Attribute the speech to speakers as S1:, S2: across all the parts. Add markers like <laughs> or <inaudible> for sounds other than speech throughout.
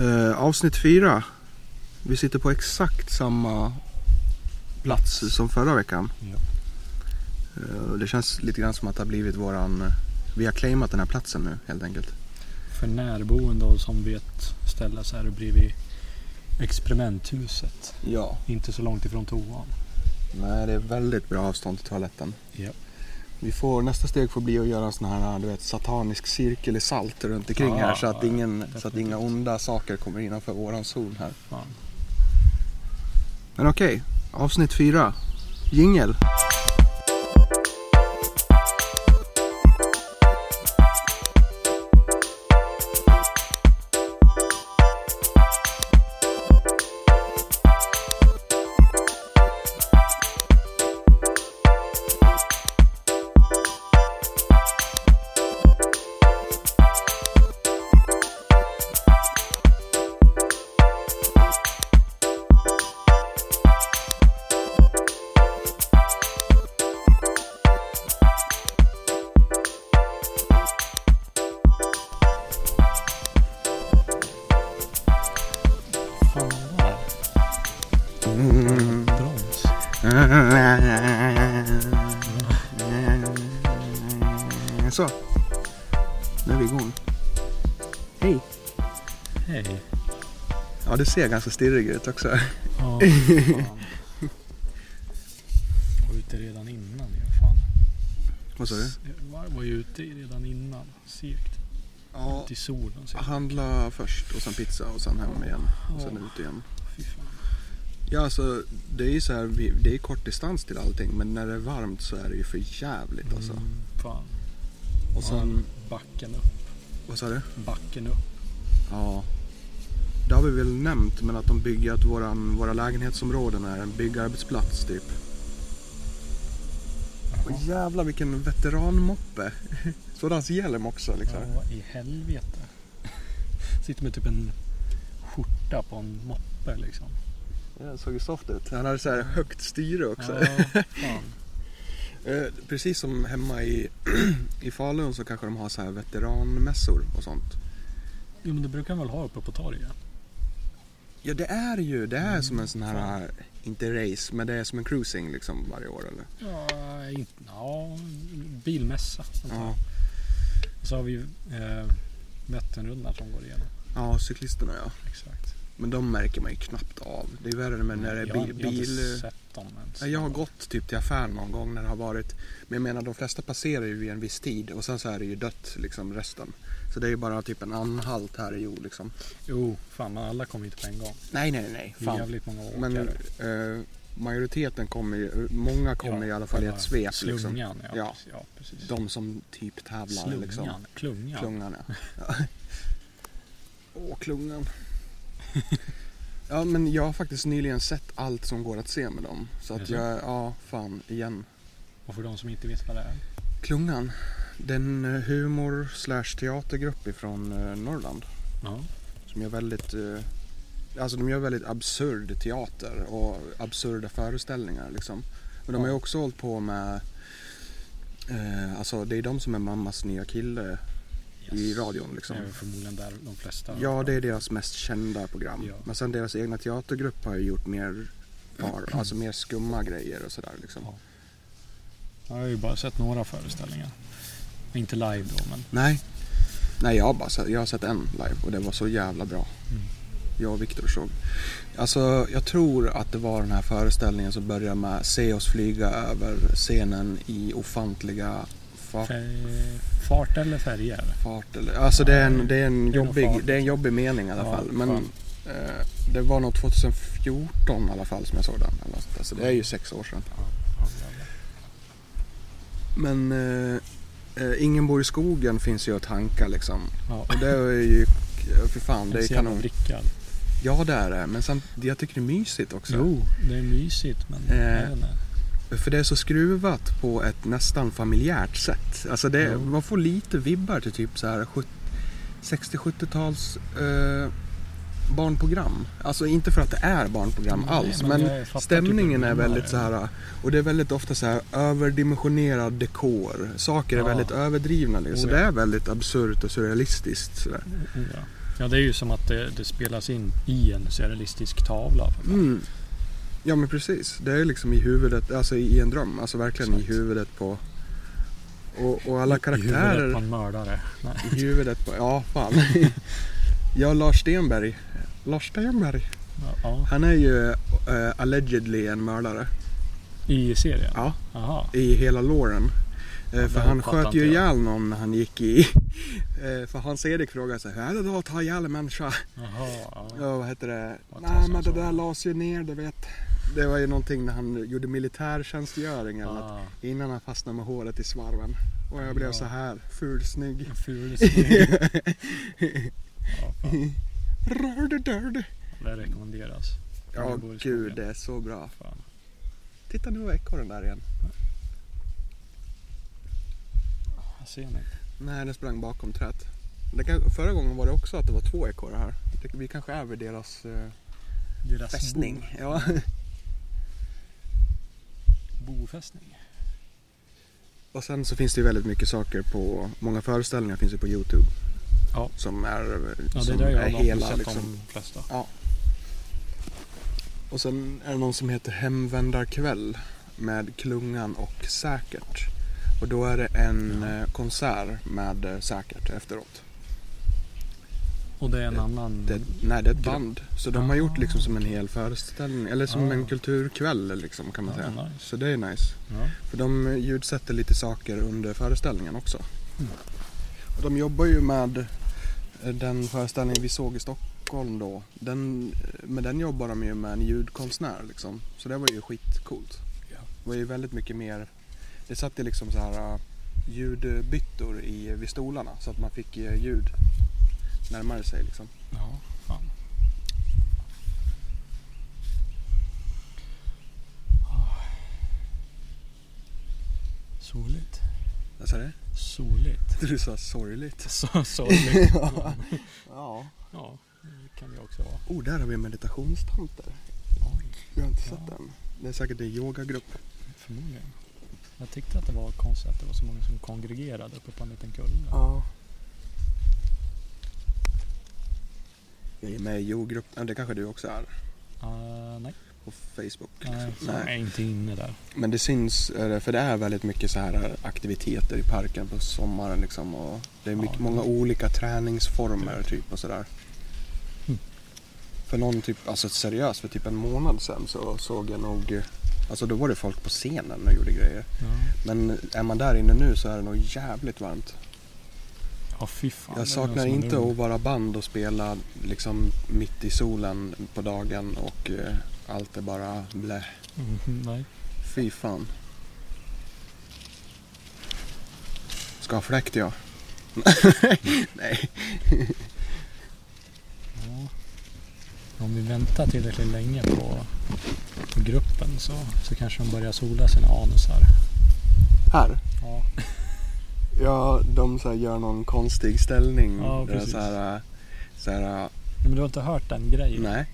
S1: Eh, avsnitt fyra. Vi sitter på exakt samma plats som förra veckan.
S2: Ja.
S1: Eh, det känns lite grann som att det har blivit våran... eh, Vi har claimat den här platsen nu helt enkelt.
S2: För närboende och som vet ställa så här bredvid experimenthuset.
S1: Ja.
S2: Inte så långt ifrån toan.
S1: Nej, det är väldigt bra avstånd till toaletten.
S2: Ja.
S1: Vi får, nästa steg får bli att göra en sån här du vet, satanisk cirkel i salt runt omkring
S2: Ja,
S1: här så att,
S2: ja,
S1: ingen, så att
S2: definitivt.
S1: inga onda saker kommer innanför våran zon här.
S2: Fan.
S1: Men okej, avsnitt fyra.
S2: <laughs>
S1: Jingel.
S2: Fan vad det är. Brons.
S1: Så. Nu är vi igång. Hej.
S2: Hej.
S1: Ja, du ser ganska stirrig ut också. <laughs>
S2: Ja, fan. Var ute redan innan ju. Fan.
S1: Vad sa du?
S2: Jag var- var ju ute redan innan. Segt.
S1: Ja,
S2: Ut i solen. Så.
S1: handla först och sen pizza och sen hem igen. Ah, Och sen ut igen.
S2: Fy fan.
S1: Ja, alltså det är ju så här, vi- det är kort distans till allting men när det är varmt så är det ju för jävligt alltså.
S2: Mm, fan.
S1: Och sen,
S2: Backen upp.
S1: vad sa du?
S2: Backen upp.
S1: Ja. Det har vi väl nämnt, men att de bygger att våran, våra lägenhetsområden är en byggarbetsplats typ. Och
S2: Jaha.
S1: jävlar vilken veteranmoppe. <laughs> Sådans hjälm också liksom.
S2: Ja, i helvete. <laughs> Sitter med typ en skjorta på en moppe liksom.
S1: Det såg ju soft ut. Han hade så här högt styre också.
S2: Ja,
S1: <laughs>
S2: fan.
S1: Eh, Precis som hemma i, <clears throat> i Falun så kanske de har så här veteranmässor och sånt.
S2: Jo men det brukar man väl ha uppe på torget?
S1: Ja det är ju, det är som en sån här,
S2: Fan.
S1: inte race, men det är som en cruising liksom varje år eller?
S2: Ja, inte, ja bilmässa. Alltså. antar jag.
S1: Ja,
S2: Och så har vi ju eh, Vätternrundan som går igenom.
S1: ja cyklisterna ja.
S2: Exakt.
S1: Men de märker man ju knappt av. Det är värre med när det är
S2: Mm, jag, har-
S1: bil...
S2: jag har
S1: bil-
S2: inte sett dem ens.
S1: Ja, Jag har gått typ till affären någon gång när det har varit, men jag menar de flesta passerar ju vid en viss tid och sen så är det ju dött liksom resten. Så det är ju bara typ en anhalt här i Hjo liksom.
S2: Jo, fan men alla kommer ju inte på en gång.
S1: Nej, nej, nej,
S2: Det är
S1: fan.
S2: jävligt många åkare.
S1: Men eh, majoriteten kommer ju, många kommer i alla fall i
S2: Själva
S1: ett svep liksom.
S2: Slungan, ja.
S1: Ja.
S2: precis. ja precis.
S1: De som typ tävlar
S2: Slungan,
S1: liksom.
S2: klungan.
S1: Klungan, ja. Ja. Åh, klungan. Ja, men jag har faktiskt nyligen sett allt som går att se med dem. Så
S2: Är det
S1: att
S2: så?
S1: jag, ja, fan, igen.
S2: Och för de som inte vet vad det är.
S1: Klungan, den eh, humor slash teatergrupp ifrån eh, Norrland
S2: Ja.
S1: som gör väldigt, eh, alltså de gör väldigt absurd teater och absurda föreställningar liksom. Men de har ju också hållit på med, eh, alltså det är de som är mammas nya kille i
S2: Yes.
S1: radion liksom.
S2: Det är väl förmodligen där de flesta...
S1: Ja, det är deras mest kända program.
S2: Ja.
S1: Men sen deras egna teatergrupp har ju gjort mer, par, alltså mer skumma grejer och sådär liksom.
S2: Ja. Jag har ju bara sett några föreställningar. Inte live då, men
S1: Nej. Nej, jag har, bara sett, jag har sett en live och det var så jävla bra.
S2: Mm.
S1: Jag och Viktor såg. Alltså, jag tror att det var den här föreställningen som börjar med se oss flyga över scenen i ofantliga fa-
S2: fär... fart eller färger.
S1: fart. Eller, alltså det är en, det är en,
S2: Det är nog
S1: jobbig,
S2: fart.
S1: det är en jobbig mening i alla
S2: Ja,
S1: fall. Men
S2: fan.
S1: eh, det var nog 2014 i alla fall som jag såg den. Eller något. Alltså, det är ju sex år sedan. Men eh, eh, Ingen bor i skogen finns ju att tanka liksom.
S2: Ja.
S1: Och det är ju, för fan, det är
S2: så jävla
S1: kanon.
S2: vrickad.
S1: Ja det är det, men sen, jag tycker det är mysigt också.
S2: Jo, det är mysigt men...
S1: Eh.
S2: jag vet inte.
S1: För det är så skruvat på ett nästan familjärt sätt. Alltså det,
S2: Jo.
S1: man får lite vibbar till typ så här sjut- 60-70-tals eh, barnprogram. Alltså inte för att det är barnprogram
S2: Nej,
S1: alls,
S2: men
S1: men,
S2: jag fattar typ
S1: stämningen
S2: vad
S1: är
S2: du menar.
S1: väldigt så här. Och det är väldigt ofta så här överdimensionerad dekor. Saker är
S2: Ja.
S1: väldigt överdrivna. liksom. Så
S2: Oh,
S1: det
S2: ja.
S1: är väldigt absurt och surrealistiskt. Så där.
S2: Oh, ja. Ja, det är ju som att det, det spelas in i en surrealistisk tavla. för fan.
S1: Mm. Ja men precis. Det är liksom i huvudet, alltså i i en dröm. Alltså verkligen
S2: Exakt.
S1: i huvudet på... Och, och alla
S2: I huvudet på
S1: karaktärer
S2: en mördare. Nej.
S1: i huvudet på... Ja, fan. <laughs> Jag Lars Stenberg. Lars Stenberg.
S2: Ja,
S1: Han är ju eh, allegedly en mördare.
S2: I serien?
S1: Ja,
S2: Jaha.
S1: i hela låren. Eh, för
S2: det
S1: han
S2: fattar
S1: sköt ju
S2: inte jag.
S1: ihjäl någon när han gick i... <laughs> Eh, för Hans-Erik frågade så här, hur är det då att ta ihjäl en människa?
S2: Jaha. Ja.
S1: Ja, vad heter det?
S2: Vad
S1: Nej,
S2: tusan
S1: men det
S2: sa
S1: där
S2: han?
S1: lades ju ner, du vet. Det var ju någonting när han gjorde militärtjänstgöring eller något.
S2: Ah,
S1: Innan han fastnade med håret i svarven. Och jag blev
S2: Ja.
S1: så här fulsnygg.
S2: en ful serie. ja, fan.
S1: Rör du, dör du.
S2: Det rekommenderas.
S1: Ja,
S2: bor i
S1: gud,
S2: skogen.
S1: det är så bra.
S2: Fan.
S1: Titta, nu var ekorren där igen.
S2: Jag ser inte.
S1: Nej, den sprang bakom trädet. Det kan, förra gången var det också att det var två ekorrar här. Det, vi kanske är vid deras eh,
S2: Deras
S1: fästning. Ja. <laughs>
S2: Bo, bofästning.
S1: Och sen så finns det ju väldigt mycket saker på, många föreställningar finns ju på Youtube.
S2: Ja.
S1: Som är,
S2: Ja, det är
S1: som
S2: där jag
S1: är
S2: har
S1: hela
S2: sett
S1: liksom.
S2: de flesta.
S1: Och sen är det någon som heter Hemvändarkväll med Klungan och Säkert. Och då är det en eh, konsert med eh, Säkert efteråt.
S2: Och det är en
S1: Det-
S2: annan...
S1: Det, nej, det är ett
S2: Grupp.
S1: band. Så de har
S2: Mm. Ah.
S1: gjort liksom som en hel föreställning, eller som
S2: Ah.
S1: en kulturkväll liksom kan man
S2: Ja,
S1: säga.
S2: nice.
S1: Så det är nice.
S2: Ja.
S1: För de eh, ljudsätter lite saker under föreställningen också.
S2: Mm.
S1: Och de jobbar ju med eh, den föreställning vi såg i Stockholm då. Den, eh, med den jobbar de ju med en ljudkonstnär liksom. Så det var ju skitcoolt.
S2: Ja.
S1: Det var ju väldigt mycket mer, det satt ju liksom så här eh, ljudbyttor i, vid stolarna så att man fick eh, ljud närmare sig liksom.
S2: Ja, fan. Ah. Soligt.
S1: Vad sa <laughs> du?
S2: Soligt.
S1: Du sa sorgligt.
S2: Så, sorgligt.
S1: <laughs> Ja.
S2: Ja, det kan det också vara.
S1: Oh, där har vi meditationstanter.
S2: Oj,
S1: Jag har inte
S2: Ja.
S1: sett den. Det är säkert en yogagrupp.
S2: förmodligen. Jag tyckte att det var konstigt att det var så många som kongregerade uppe på en liten kulle.
S1: Ja. Jag är med i yogagruppen. Ja, Det kanske du också är.
S2: Ah, nej,
S1: På Facebook.
S2: nej,
S1: liksom.
S2: jag är inte inne där.
S1: Men det syns, eh, för det är väldigt mycket så här aktiviteter i parken på sommaren liksom. Och det är mycket,
S2: Ja.
S1: många olika träningsformer typ och sådär.
S2: Mm.
S1: För någon typ, alltså seriöst, för typ en månad sedan så såg jag nog, eh, alltså då var det folk på scenen och gjorde grejer.
S2: Ja,
S1: Men är man där inne nu så är det nog jävligt varmt.
S2: ja alltså, fy fan.
S1: Jag
S2: det är någon
S1: saknar
S2: som är
S1: inte
S2: dum.
S1: att vara band och spela liksom mitt i solen på dagen och eh, allt är bara blä.
S2: Mhm, nej.
S1: Fy fan. Ska ha fläkt jag. <laughs> Nej.
S2: Ja. Om vi väntar tillräckligt länge på, på gruppen så, så kanske de börjar sola sina anusar.
S1: Här.
S2: Ja,
S1: Ja, de så här gör någon konstig ställning.
S2: Ja,
S1: där
S2: precis.
S1: så här, eh, så här, eh,
S2: Ja, men du har inte hört den grejen?
S1: nej.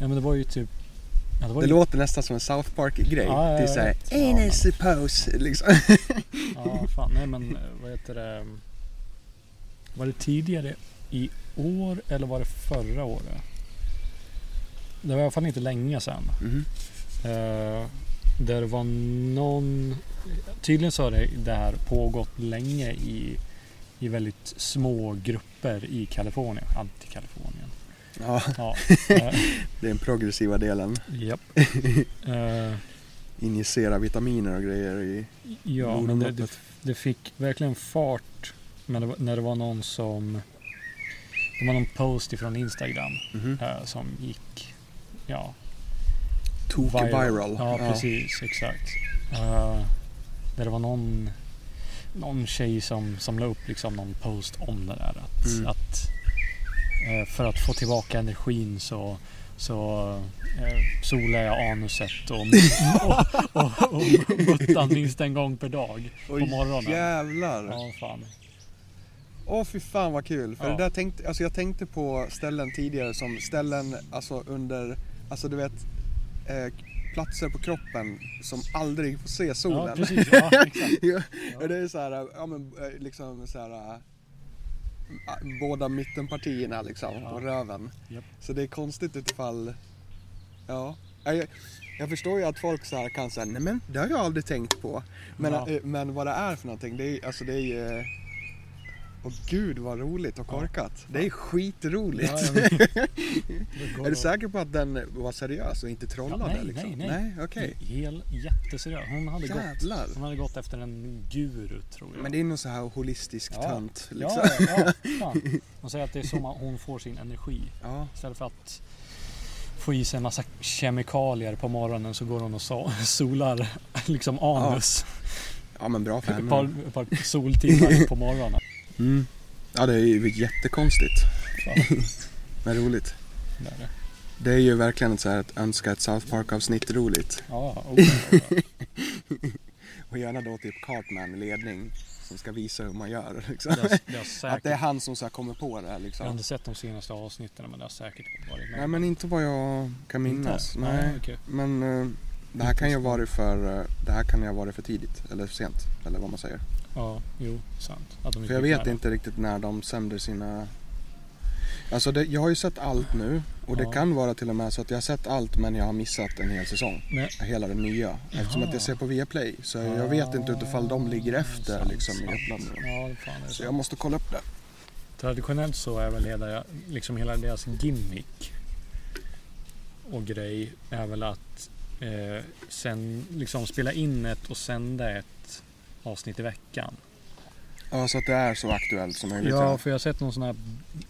S2: Ja, men det var ju typ... Ja, det var
S1: Det
S2: ju,
S1: låter nästan som en South Park-grej.
S2: Ja, ja,
S1: det är
S2: jag
S1: såhär,
S2: vet. Ja, men-
S1: anus pose <laughs> liksom.
S2: ja, fan, nej men eh, vad heter det? Var det tidigare i år eller var det förra året? Det var i alla fall inte länge sedan.
S1: Mhm.
S2: Eh, där det var någon... Tydligen så har det, det här pågått länge i, i väldigt små grupper i Kalifornien. Anti-Kalifornien.
S1: Ja,
S2: Ja. eh,
S1: det är den progressiva delen.
S2: Japp. Eh,
S1: Injicera vitaminer och grejer i
S2: ja, men det, det,
S1: blodomloppet.
S2: det fick verkligen fart men det, var- när det var någon som... Det var någon post ifrån Instagram
S1: Mhm.
S2: eh, som gick... Ja,
S1: Tok viral.
S2: Ja, precis. Exakt. Eh, där det var någon, någon tjej som, som la upp liksom någon post om det där. Att,
S1: Mm.
S2: att, eh, för att få tillbaka energin så, så eh, solar jag anuset och, <laughs> och, och, och muttan minst en gång per dag.
S1: Oj,
S2: på morgonen.
S1: jävlar.
S2: Ja, fan.
S1: Åh fy fan vad kul. För
S2: Ja.
S1: det där tänkte, alltså jag tänkte på ställen tidigare som ställen alltså under, alltså du vet, eh, platser på kroppen som aldrig får se
S2: Ja,
S1: solen. <laughs>
S2: precis. Ja, exakt.
S1: Ja,
S2: Ja.
S1: Det är så här, ja men eh, liksom så här, eh, båda mittenpartierna liksom på
S2: Ja.
S1: röven.
S2: Japp.
S1: Så det är konstigt utifall... Ja. Ja, Jag, jag förstår ju att folk så här kan säga nej men det har jag aldrig tänkt på. Men,
S2: Ja.
S1: eh, men vad det är för någonting, det är, alltså det är ju... Åh gud vad roligt och
S2: Ja.
S1: korkat. Det är skitroligt.
S2: Ja, jag vet. Det går
S1: <laughs> Är du
S2: att-
S1: säker på att den var seriös och inte trollade?
S2: Ja, nej,
S1: liksom?
S2: nej, nej.
S1: okej.
S2: Hel, jätteseriös. Hon hade, gått,
S1: Jävlar.
S2: hon hade gått efter en guru tror jag.
S1: Men det är någon så här holistisk
S2: Ja.
S1: tönt. Liksom.
S2: Ja, ja,
S1: <laughs>
S2: fan. Hon säger att det är så man, hon får sin energi.
S1: Ja.
S2: Istället för att få i sig en massa kemikalier på morgonen så går hon och so- <laughs> solar liksom anus. Typ
S1: ja, Mm. men bra för
S2: Ett,
S1: henne.
S2: par, ett par soltimmar
S1: <laughs>
S2: på morgonen.
S1: Mm. Ja, det är ju jättekonstigt.
S2: Fan,
S1: Men roligt.
S2: där är det.
S1: Det är ju verkligen så här att önska ett South Park-avsnitt roligt.
S2: Ja,
S1: <laughs>
S2: oh, ja, ja.
S1: Och gärna då typ Cartman i ledning som ska visa hur man gör. Liksom.
S2: Det har- det har
S1: Att det är
S2: säkert...
S1: han som så här kommer på det här
S2: Jag har
S1: liksom.
S2: inte sett de senaste avsnitten men det har säkert varit
S1: Nej, men inte vad jag kan minnas.
S2: Inte? Nej,
S1: Nej.
S2: okej.
S1: Men eh, det här kan ju vara för, eh, det här kan ju ha varit för tidigt. Eller för sent. Eller vad man säger.
S2: Ja, jo, sant. Att de
S1: För
S2: inte
S1: jag
S2: fick
S1: vet
S2: med det.
S1: inte riktigt när de sänder sina... Alltså det, jag har ju sett allt nu och det
S2: Ja.
S1: kan vara till och med så att jag har sett allt men jag har missat en hel säsong.
S2: Men-
S1: Hela den nya. Eftersom
S2: Jaha. Ah.
S1: att jag ser på Viaplay så jag vet inte utifall de ligger efter
S2: Sant,
S1: liksom i
S2: sant.
S1: uppladdningen.
S2: Ja, fan, det är
S1: Så jag
S2: sant.
S1: måste kolla upp det.
S2: Traditionellt så är väl hela, liksom hela deras gimmick och grej är väl att eh, sen liksom spela in ett och sända ett avsnitt i veckan.
S1: Ja, så att det är så aktuellt som möjligt.
S2: Ja, för jag har sett någon sån här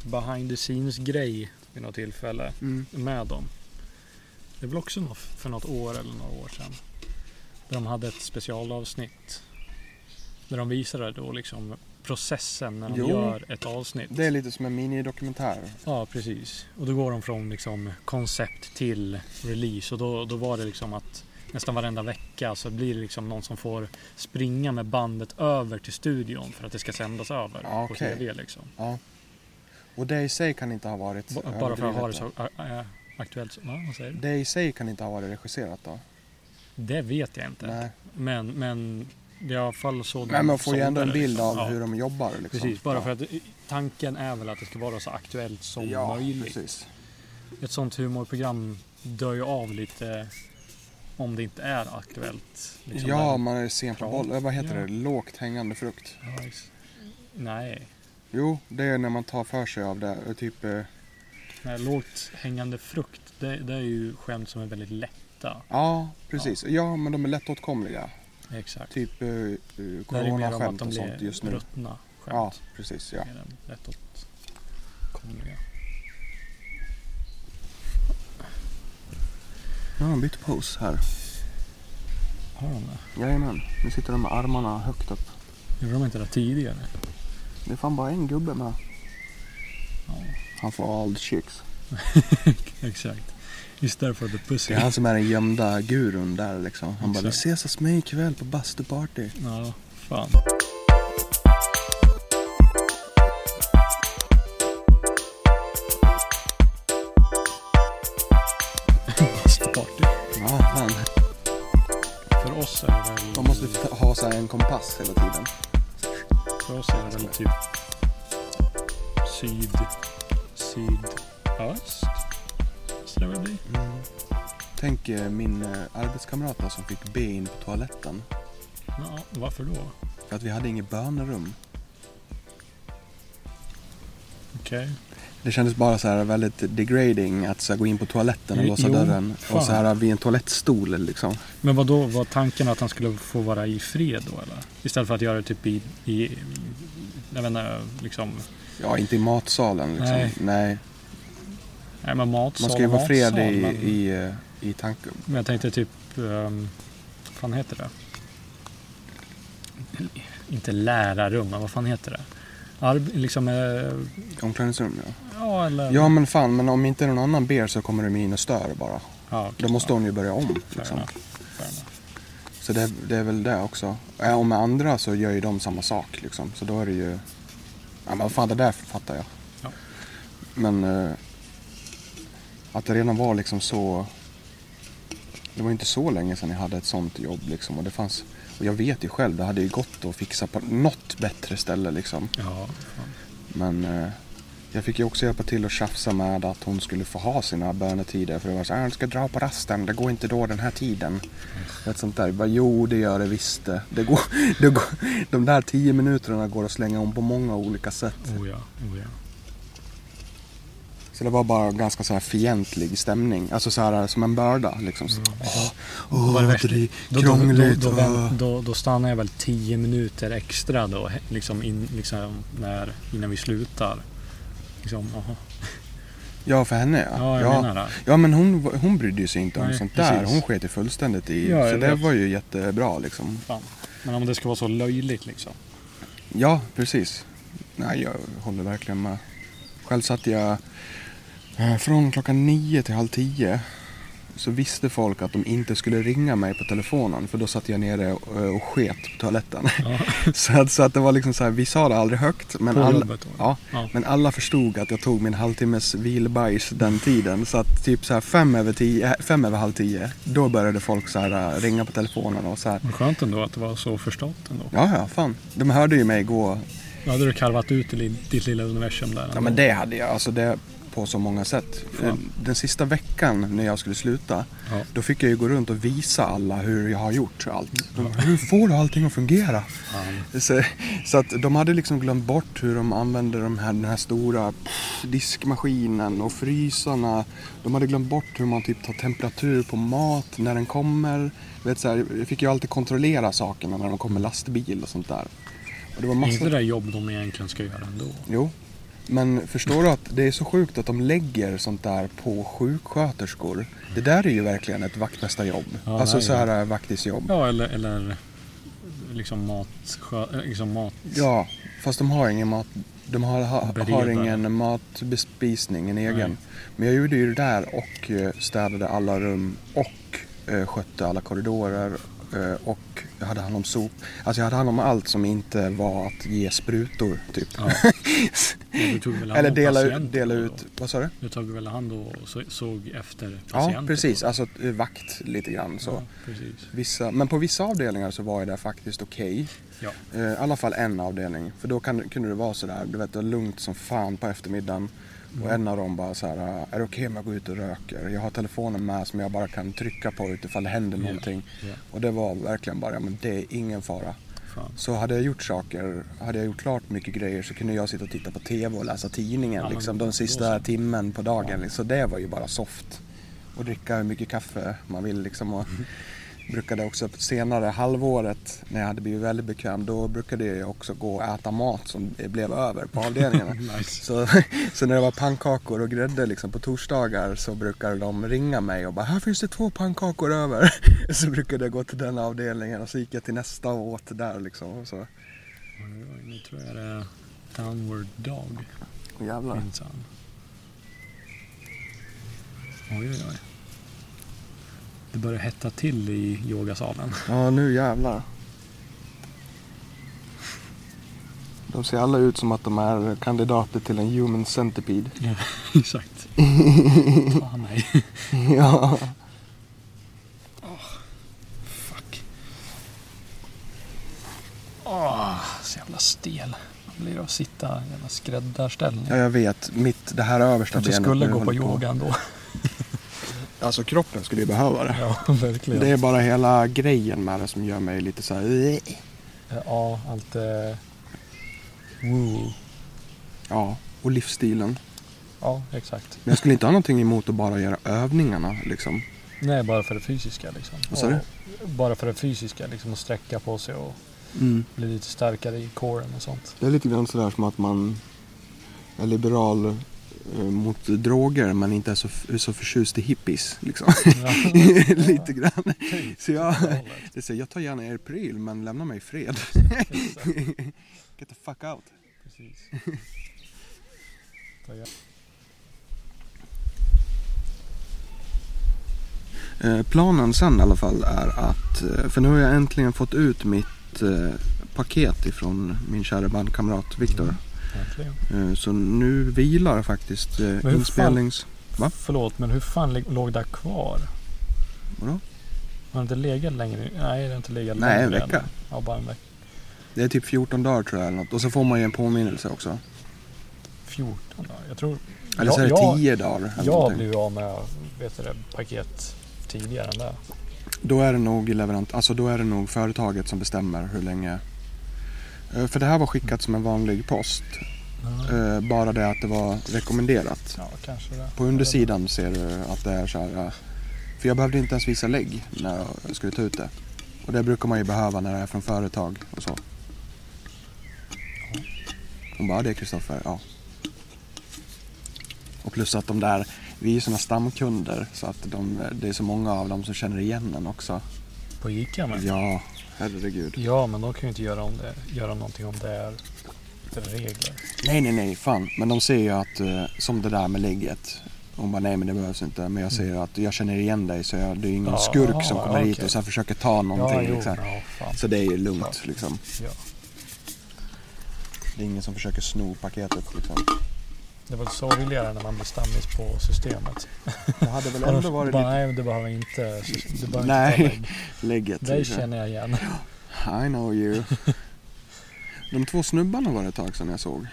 S2: behind the scenes grej vid något tillfälle
S1: Mm.
S2: med dem. Det var också nå- för något år eller några år sedan. Där de hade ett specialavsnitt. Där de visade då liksom processen när de
S1: Jo.
S2: gör ett avsnitt.
S1: Det är lite som en minidokumentär.
S2: Ja, precis. Och då går de från liksom koncept till release och då, då var det liksom att nästan varenda vecka så blir det liksom någon som får springa med bandet över till studion för att det ska sändas över
S1: Ja,
S2: på
S1: Ah, okej.
S2: tv liksom.
S1: Och det i sig kan inte ha varit...
S2: B- bara för att ha det så
S1: överdrivet
S2: äh, äh, aktuellt. som- Ja, vad säger
S1: då.
S2: du?
S1: Det i sig kan inte ha varit regisserat då?
S2: Det vet jag inte.
S1: Nej.
S2: Men, men det är i alla fall så. de
S1: Nej, man får ju ändå en
S2: sålde det,
S1: bild
S2: liksom.
S1: av
S2: Ja,
S1: hur de jobbar. Liksom.
S2: Precis, bara
S1: Ja.
S2: för att eh, tanken är väl att det ska vara så aktuellt som möjligt.
S1: Precis.
S2: ett sånt humorprogram dör ju av lite om det inte är aktuellt. liksom.
S1: ja,
S2: Där-
S1: man är sen på
S2: Ja.
S1: boll. Eh, Vad heter
S2: Ja.
S1: det? Lågt hängande frukt.
S2: Ja, ex- Nej.
S1: Jo, det är när man tar för sig av det. eh, Typ, eh,
S2: Nej, lågt hängande frukt, det, det är ju skämt som är väldigt lätta.
S1: ja, precis. Ja. men de är lättåtkomliga.
S2: Exakt.
S1: Typ eh, eh,
S2: Där är det mer om att
S1: coronaskämt
S2: de
S1: och sånt
S2: blir
S1: just nu.
S2: ruttna
S1: Ja,
S2: skämt.
S1: precis. Ja.
S2: Mer än lättåtkomliga.
S1: Nu har de bytt pose här.
S2: Har de det?
S1: Jajamän, nu sitter de med armarna högt upp.
S2: Gjorde de inte det tidigare? <laughs>
S1: Det är fan bara en gubbe med.
S2: Ja,
S1: Han får all chicks.
S2: exakt. Just därför the pussy.
S1: Det är han som är den gömda gurun där liksom. Han bara, vi
S2: Exakt.
S1: ses hos mig ikväll på bastuparty.
S2: Ja, fan. Bastuparty.
S1: Ja, fan.
S2: För oss är det väl...
S1: Man måste ta- ha så här en kompass hela tiden.
S2: För oss är det väl typ... Syd... Sydöst? Måste det väl bli?
S1: Tänk eh, min eh, arbetskamrat då som fick be in på toaletten.
S2: Ja, varför då?
S1: För att vi hade inget bönerum.
S2: Okej.
S1: Det kändes bara så här väldigt degrading att så här, gå in på toaletten och
S2: Jo,
S1: låsa dörren.
S2: fan.
S1: Och så här vid en toalettstol liksom.
S2: Men vad då var tanken att han skulle få vara i fred då eller? Istället för att göra det typ i... i jag vet inte, liksom...
S1: Ja, inte i matsalen liksom.
S2: Nej.
S1: Nej.
S2: Nej men matsal
S1: Man ska ju vara
S2: matsal,
S1: fred i,
S2: men,
S1: i, eh, i tanken.
S2: men jag tänkte typ... Um, vad fan heter det? Inte lärarrum, men vad fan heter det? Arb, liksom... eh,
S1: Omklädningsrum ja.
S2: ja, eller...
S1: Ja men fan, men om inte någon annan ber så kommer de in och stör bara.
S2: ja okej,
S1: Då måste
S2: ja,
S1: hon ju börja om
S2: fair
S1: liksom.
S2: enough, fair enough.
S1: Så det, det är väl det också. Ja, och med andra så gör ju de samma sak liksom. Så då är det ju... Ja men fan det där fattar jag.
S2: Ja.
S1: Men... Eh, att det redan var liksom så... Det var ju inte så länge sedan jag hade ett sånt jobb liksom. Och det fanns... Och jag vet ju själv, det hade ju gått att fixa på något bättre ställe liksom.
S2: Ja, fan.
S1: Men eh, jag fick ju också hjälpa till att tjafsa med att hon skulle få ha sina bönetider. För det var så här, "Ah, ska dra på rasten, det går inte då den här tiden. Ett sånt där. Jag Bara, jo, det gör det visst det. det, går, <laughs> det går, de där tio minuterna går att slänga om på många olika sätt.
S2: Oh ja, oh ja.
S1: Så det var bara ganska så här fientlig stämning. Alltså så här som en börda liksom. Så, Åh, åh,
S2: Mm. Vad är det
S1: det är
S2: Då, då, då,
S1: krångligt.
S2: då,
S1: åh."
S2: vänt- då, då stannar jag väl 10 minuter extra då, he- liksom, in, liksom när, innan vi slutar. Liksom, aha.
S1: Ja, för henne ja.
S2: Ja, jag
S1: Ah, ja.
S2: menar det.
S1: Ja men hon, hon brydde ju sig inte om
S2: Nej,
S1: sånt där.
S2: precis.
S1: Hon sket ju fullständigt i.
S2: Ja,
S1: så
S2: jag
S1: det
S2: vet.
S1: var ju jättebra liksom.
S2: Fan. Men om det ska vara så löjligt liksom.
S1: Ja, precis. Nej, jag håller verkligen med. Själv satt jag eh, från klockan nio till halv tio. Så visste folk att de inte skulle ringa mig på telefonen för då satt jag nere och, och sket på toaletten. <laughs>
S2: Ja, <laughs>
S1: Så att, så att det var liksom så här, vi sa det aldrig högt men
S2: på
S1: alla,
S2: jobbet då.
S1: ja,
S2: Ja.
S1: men alla förstod att jag tog min halvtimmes vilbajs den tiden. Så att typ så här fem över, tio, äh, fem över halv tio, då började folk så här äh, ringa på telefonen och så här.
S2: Men skönt ändå att det var så förstått ändå.
S1: Ja, ja, fan. De hörde ju mig gå.
S2: Då hade du karvat ut i li- ditt lilla universum där.
S1: Ja,
S2: ändå.
S1: men det hade jag. Alltså det på så många sätt. För
S2: Ja.
S1: Den sista veckan när jag skulle sluta,
S2: Ja.
S1: då fick jag ju gå runt och visa alla hur jag har gjort allt. De, bara, hur får du allting att fungera?
S2: Fan.
S1: Så, så att de hade liksom glömt bort hur de använde de här, den här stora pff, diskmaskinen och frysarna. De hade glömt bort hur man typ tar temperatur på mat när den kommer. Du Vet, så här, jag fick ju alltid kontrollera sakerna när de kom med lastbil och sånt där. Och det var
S2: Det är inte det
S1: massor...
S2: där jobb de egentligen ska göra ändå.
S1: Jo. Men förstår du att det är så sjukt att de lägger sånt där på sjuksköterskor. Det där är ju verkligen ett vaktmästarjobb.
S2: Ja,
S1: alltså
S2: nej,
S1: så här vaktisjobb.
S2: Ja, eller, eller liksom mat... skö- eh, Liksom mat
S1: Ja, fast de har ingen mat. De har, ha, har
S2: Beredare.
S1: ingen matbespisning, en egen.
S2: Nej.
S1: Men jag gjorde ju det där och eh, städade alla rum och eh, skötte alla korridorer eh, och jag hade hand om sop. Alltså jag hade hand om allt som inte var att ge sprutor typ. <laughs>
S2: Ja. Ja, du tog väl hand
S1: Eller
S2: om
S1: dela, ut- dela
S2: patienten då?
S1: ut, vad sa du?
S2: Du tog väl hand och så- såg efter
S1: Ja,
S2: patienten?
S1: precis.
S2: då?
S1: Alltså eh, vakt lite grann så.
S2: typ. Ja, precis.
S1: Vissa, men på vissa avdelningar så var jag där faktiskt okej.
S2: Ja.
S1: Eh, I alla fall en avdelning. För då kan, kunde det vara sådär, du vet, det var lugnt som fan på eftermiddagen.
S2: Mm.
S1: Och en av dem bara så här, "Ah, är det okej om jag går ut och röker? Jag har telefonen med som jag bara kan trycka på utifall det händer
S2: Ja.
S1: någonting.
S2: ja,
S1: Och det var verkligen bara, ja, men det är ingen fara.
S2: fan.
S1: Så hade jag gjort saker, hade jag gjort klart mycket grejer så kunde jag sitta och titta på TV och läsa tidningen
S2: Ja, men
S1: liksom
S2: då-
S1: den
S2: då
S1: sista
S2: så.
S1: timmen på dagen. Så det var ju bara soft. Och dricka hur mycket kaffe man vill liksom. Och
S2: Mm.
S1: brukade också senare, halvåret, när jag hade blivit väldigt bekväm, då brukade jag också gå och äta mat som blev över på avdelningarna.
S2: Nice.
S1: Så, <laughs> så när det var pannkakor och grädde liksom på torsdagar så brukade de ringa mig och bara här finns det två pannkakor över. <laughs> Så brukade jag gå till den avdelningen och så gick jag till nästa och åt där liksom. Så,
S2: Oj, oj, Nu tror jag det är downward dog
S1: jävlar.
S2: minsann. Oj, oj, oj. Det börjar hetta till i yogasalen.
S1: Ja nu jävlar. De ser alla ut som att de är kandidater till en human centipede.
S2: Ja, <laughs> exakt. Fan nej.
S1: ja.
S2: Fuck. Åh, så jävla stel. Man blir av att sitta i jävla skräddarställning.
S1: ja jag vet, mitt, det här översta
S2: Jag kanske
S1: benet
S2: skulle
S1: nu
S2: gå på
S1: håller
S2: yoga
S1: <laughs>
S2: ändå.
S1: Alltså kroppen skulle ju behöva det.
S2: Ja, verkligen.
S1: Det är bara hela grejen med det som gör mig lite så här.
S2: Ja, allt... Eh, woo.
S1: Ja, och livsstilen.
S2: Ja, exakt.
S1: Men jag skulle inte ha någonting emot att bara göra övningarna liksom.
S2: Nej, bara för det fysiska liksom.
S1: Vad sa du?
S2: Och Bara för det fysiska liksom, att sträcka på sig och bli lite starkare i coren
S1: <laughs>
S2: och sånt.
S1: Det är lite grann sådär som att man är liberal eh, mot droger men inte är så, så förtjust i hippies liksom. <laughs>
S2: Ja.
S1: lite grann.
S2: Typ.
S1: Så jag,
S2: Hållet.
S1: det är så, jag tar gärna er pryl men lämna mig i fred. Get the fuck out.
S2: <laughs> Precis. Ta igen.
S1: Eh, Planen sen i alla fall är att, eh, för nu har jag äntligen fått ut mitt eh, paket ifrån min kära bandkamrat Viktor.
S2: Äntligen.
S1: Eh, Så nu vilar faktiskt eh,
S2: fan-
S1: inspelnings... Va?
S2: Förlåt, men hur fan lig- låg det här kvar?
S1: Vadå?
S2: Har det inte legat längre? Nej, det har inte legat
S1: Nej, en
S2: längre än-
S1: vecka.
S2: Ja, bara en vecka.
S1: Det är typ 14 dagar tror jag eller något. Och så får man ju en påminnelse också.
S2: 14 dagar. Jag tror...
S1: Eller så är det
S2: jag,
S1: tio dagar.
S2: jag,
S1: eller
S2: jag
S1: någonting.
S2: blev av med vet du, det, paket tidigare än det.
S1: Då är det nog leverant, alltså då är det nog företaget som bestämmer hur länge. Eh, För det här var skickat som en vanlig post. eh, Bara det att det var rekommenderat.
S2: Ja, kanske det.
S1: På undersidan ser du att det är så här. eh, För jag behövde inte ens visa lägg när jag skulle ta ut det. Och det brukar man ju behöva när det är från företag och så. Hon bara, "Ja, det är Kristoffer, ja. Och plus att de där, vi är ju såna stamkunder så att de, det är så många av dem som känner igen en också.
S2: På Ica men. Ja.
S1: Ja, herregud.
S2: men de kan ju inte göra, om det, göra någonting om det är regler.
S1: Nej, nej, nej, fan. Men de ser ju att, eh, som det där med lägget. Hon bara, nej men det behövs inte. Men jag ser att jag känner igen dig så jag, det är ju ingen
S2: Ja,
S1: skurk som kommer
S2: okej.
S1: hit och sen försöker ta någonting.
S2: Ja, jo,
S1: liksom.
S2: ja, fan.
S1: Så det är ju lugnt
S2: Klart.
S1: liksom.
S2: Ja.
S1: Det är ingen som försöker sno paketet liksom.
S2: Det var så roligare när man blev stammis på systemet.
S1: Det hade väl ändå varit
S2: bara,
S1: lite
S2: Nej, men det behöver inte. Du behöver
S1: Nej.
S2: inte ta
S1: <laughs>
S2: det.
S1: lägget.
S2: Dig
S1: liksom.
S2: känner jag igen.
S1: I know
S2: <laughs>
S1: you. De två snubbarna var det ett tag sedan jag såg.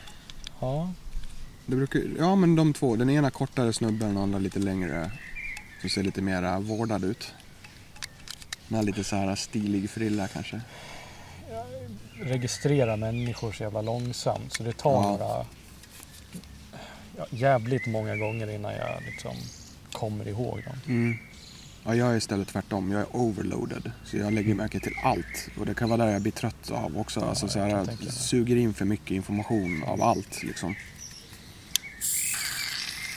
S2: Ja,
S1: Det brukar, ja men de två, den ena kortare snubben och den andra lite längre. Som ser lite mer vårdad ut. Den här lite så här stilig frilla kanske.
S2: registrera människor så jävla långsamt så det tar
S1: Ja.
S2: några ja, jävligt många gånger innan jag liksom kommer ihåg dem.
S1: Mm. Ja, jag är istället tvärtom. Jag är overloaded. Så jag lägger märke till allt. Och det kan vara där jag blir trött av också.
S2: Ja,
S1: alltså, så
S2: jag
S1: här,
S2: kan
S1: jag
S2: tänka mig.
S1: suger in för mycket information av allt liksom.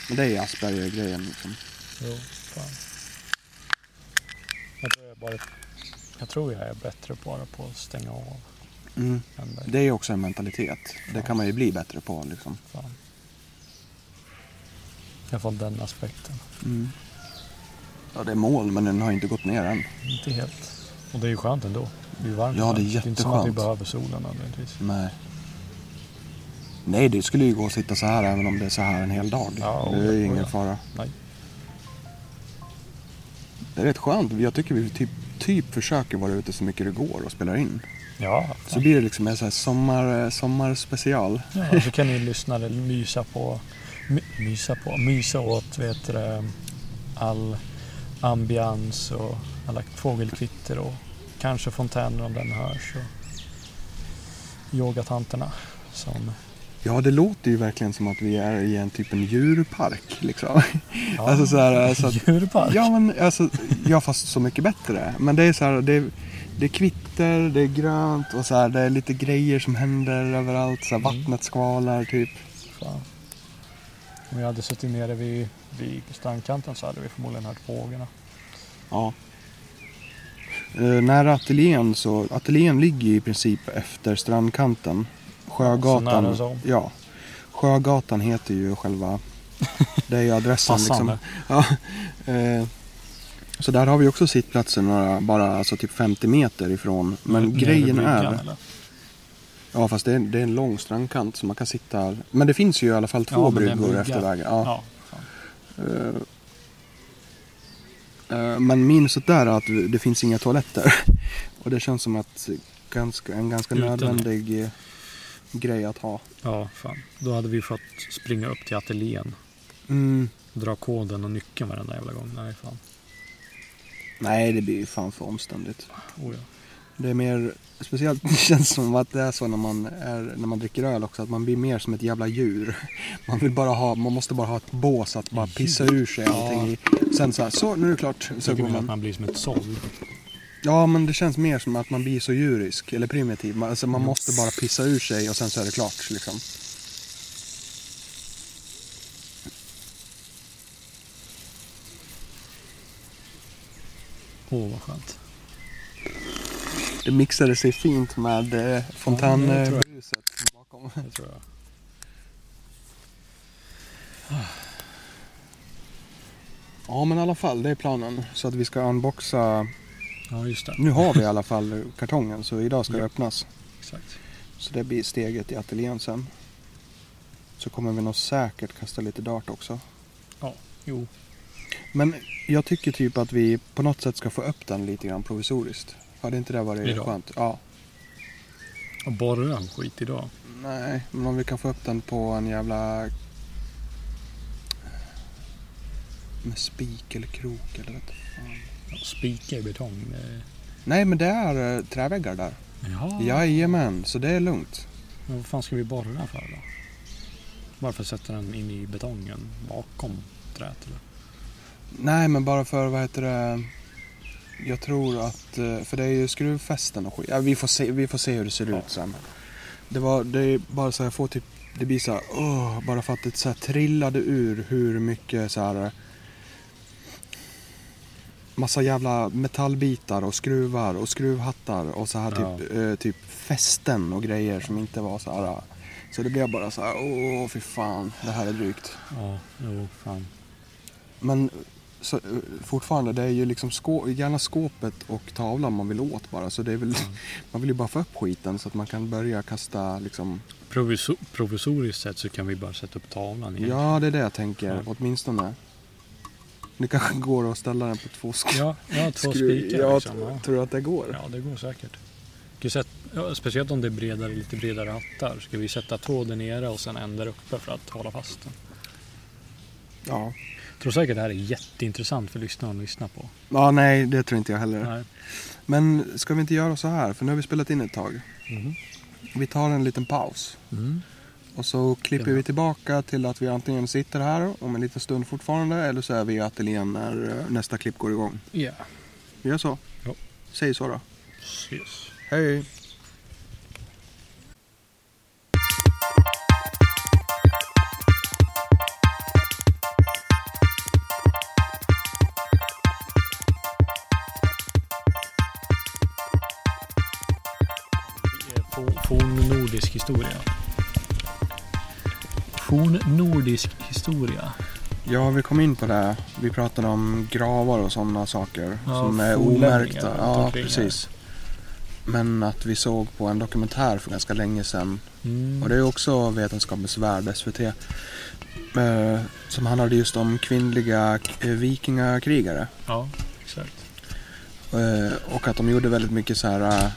S1: Men det är Asperger-grejen liksom.
S2: Jo, fan. Jag tror jag, bara, jag, tror jag är bättre bara på att stänga av. Än dig.
S1: Det är också en mentalitet. Det kan man ju bli bättre på liksom.
S2: Fan. I alla fall den aspekten.
S1: Ja, det är mål men den har inte gått ner än.
S2: Inte helt. Och det är ju skönt ändå. Det är ju varmt.
S1: Ja, det är
S2: Det är inte som att vi
S1: jätteskönt.
S2: behöver solen nödvändigtvis.
S1: Nej. Nej, det skulle ju gå att sitta så här även om det är så här en hel dag.
S2: Ja,
S1: det är ju
S2: oja,
S1: ingen
S2: oja.
S1: fara.
S2: Nej.
S1: Det är rätt skönt. Jag tycker vi typ, typ försöker vara ute så mycket det går och spelar in.
S2: Ja,
S1: Så blir det liksom en så här sommar, sommarspecial.
S2: Ja, så kan ni lyssnare mysa på, my, mysa på, mysa åt vet du, det, all ambians och alla fågelkvitter och kanske fontäner om den hörs och yogatanterna som...
S1: Ja, det låter ju verkligen som att vi är i en typ en djurpark liksom.
S2: Ja,
S1: Alltså så här, så att,
S2: djurpark.
S1: ja, men alltså, ja, fast så mycket bättre. Men det är så här, det är, det är kvitter, det är grönt och så här, det är lite grejer som händer överallt. Så här,
S2: Mm.
S1: vattnet skvalar typ.
S2: Fan. Om jag hade suttit nere vid, vid strandkanten så hade vi förmodligen hört fåglarna.
S1: Ja. Eh, nära ateljén så, ateljén ligger ju i princip efter strandkanten.
S2: Så
S1: Sjögatan.
S2: nära som.
S1: Ja. Sjögatan heter ju
S2: <laughs>
S1: själva, det är ju adressen liksom. Ja. Eh, så där har vi också sittplatser några, bara alltså typ 50 meter ifrån. Men
S2: Nere vid
S1: grejen
S2: bryggan,
S1: är,
S2: eller?
S1: ja fast det är, det är en lång strandkant så man kan sitta, men det finns ju i alla fall två
S2: Ja, men det är en
S1: bryggor
S2: brygga.
S1: efter vägen.
S2: Ja.
S1: Ja.
S2: fan.
S1: Eh, Men minuset där är att det finns inga toaletter. <laughs> Och det känns som att ganska, en ganska
S2: Utan.
S1: nödvändig eh, grej att ha.
S2: ja, fan. Då hade vi fått springa upp till ateljén
S1: Mm.
S2: Dra koden och nyckeln varenda jävla gång. Nej, fan.
S1: Nej, det blir ju fan för omständigt.
S2: Oh, ja.
S1: Det är mer, speciellt <laughs> det känns som att det är så när man, är, när man dricker öl också, att man blir mer som ett jävla djur. <laughs> Man, vill bara ha, man måste bara ha ett bås att bara pissa ur sig allting i. Sen så här, så nu är det klart. Så
S2: Jag
S1: går
S2: tycker
S1: man.
S2: att man blir som ett såll.
S1: Ja, men det känns mer som att man blir så djurisk, eller primitiv. Man, alltså, man måste bara pissa ur sig och sen så är det klart liksom.
S2: Åh, vad skönt.
S1: Det mixade sig fint med eh,
S2: Ja, det tror jag.
S1: fontanbruset bakom.
S2: Det tror jag.
S1: Ja men i alla fall, det är planen. Så att vi ska unboxa.
S2: Ja, just det.
S1: Nu har vi i alla fall kartongen så idag ska det
S2: Ja.
S1: öppnas.
S2: Exakt.
S1: Så det blir steget i ateljén sen. Så kommer vi nog säkert kasta lite dart också.
S2: Ja, jo.
S1: Men jag tycker typ att vi på något sätt ska få upp den lite grann provisoriskt. Hade inte det varit
S2: Idag?
S1: skönt? Ja.
S2: Och borra all skit idag.
S1: Nej, men om vi kan få upp den på en jävla... Med spik eller krok eller något.
S2: Spika i betong. Eh, det-
S1: Nej, men det är eh, träväggar där.
S2: Jaha.
S1: Jajamän, så det är lugnt.
S2: Men vad fan ska vi borra för då? Varför sätter den in i betongen bakom träet? Eller?
S1: Nej, men bara för vad heter det? Jag tror att, eh, för det är ju skruvfästen och skit. Ja, vi, får se, vi får se hur det ser
S2: Ja.
S1: ut sen. Det, var, det är bara så här, jag får typ, det blir så här, åh, bara för att det så här trillade ur hur mycket så här eh, massa jävla metallbitar och skruvar och skruvhattar och så här typ, eh, typ fästen och grejer som inte var så här. eh. Så det blev bara så här, åh fy fan, det här är drygt.
S2: Ja, jo, fan.
S1: Men så, eh, fortfarande, det är ju liksom skå, gärna skåpet och tavlan man vill åt bara. Så det är väl,
S2: Mm.
S1: <laughs> man vill ju bara få upp skiten så att man kan börja kasta liksom.
S2: Proviso- provisoriskt sett så kan vi bara sätta upp tavlan igen.
S1: Ja, det är det jag tänker,
S2: Ja.
S1: åtminstone. Det kanske <laughs> går att ställa den på två sk-
S2: ja, ja två
S1: skru-
S2: spikar
S1: Ja,
S2: liksom.
S1: t-
S2: Ja.
S1: tror du att det går?
S2: ja, det går säkert. Ska vi sätta, ja, speciellt om det är bredare, lite bredare hattar. Ska vi sätta två där nere och sen en där uppe för att hålla fast den?
S1: Ja.
S2: Jag tror säkert det här är jätteintressant för lyssnaren att lyssna på.
S1: Ja, nej, det tror inte jag heller.
S2: Nej.
S1: Men ska vi inte göra så här? För nu har vi spelat in ett tag.
S2: Mhm.
S1: Vi tar en liten paus.
S2: Mm.
S1: Och så klipper
S2: Ja.
S1: vi tillbaka till att vi antingen sitter här om en liten stund fortfarande eller så är vi i ateljén när eh, nästa klipp går igång.
S2: Ja,
S1: Vi gör så.
S2: Ja.
S1: Säg så då.
S2: precis.
S1: Hej!
S2: Forn- Fornnordisk historia. Fornnordisk historia.
S1: Ja, vi kom in på det. här. Vi pratade om gravar och sådana saker
S2: Ja,
S1: som är
S2: fornlämningar
S1: omärkta.
S2: runt
S1: Ja,
S2: omkring här.
S1: precis. Men att vi såg på en dokumentär för ganska länge sedan
S2: Mm.
S1: och det är också Vetenskapens Värld, SVT, eh, som handlade just om kvinnliga eh, vikingakrigare.
S2: Ja, exakt.
S1: Eh, Och att de gjorde väldigt mycket så här... eh,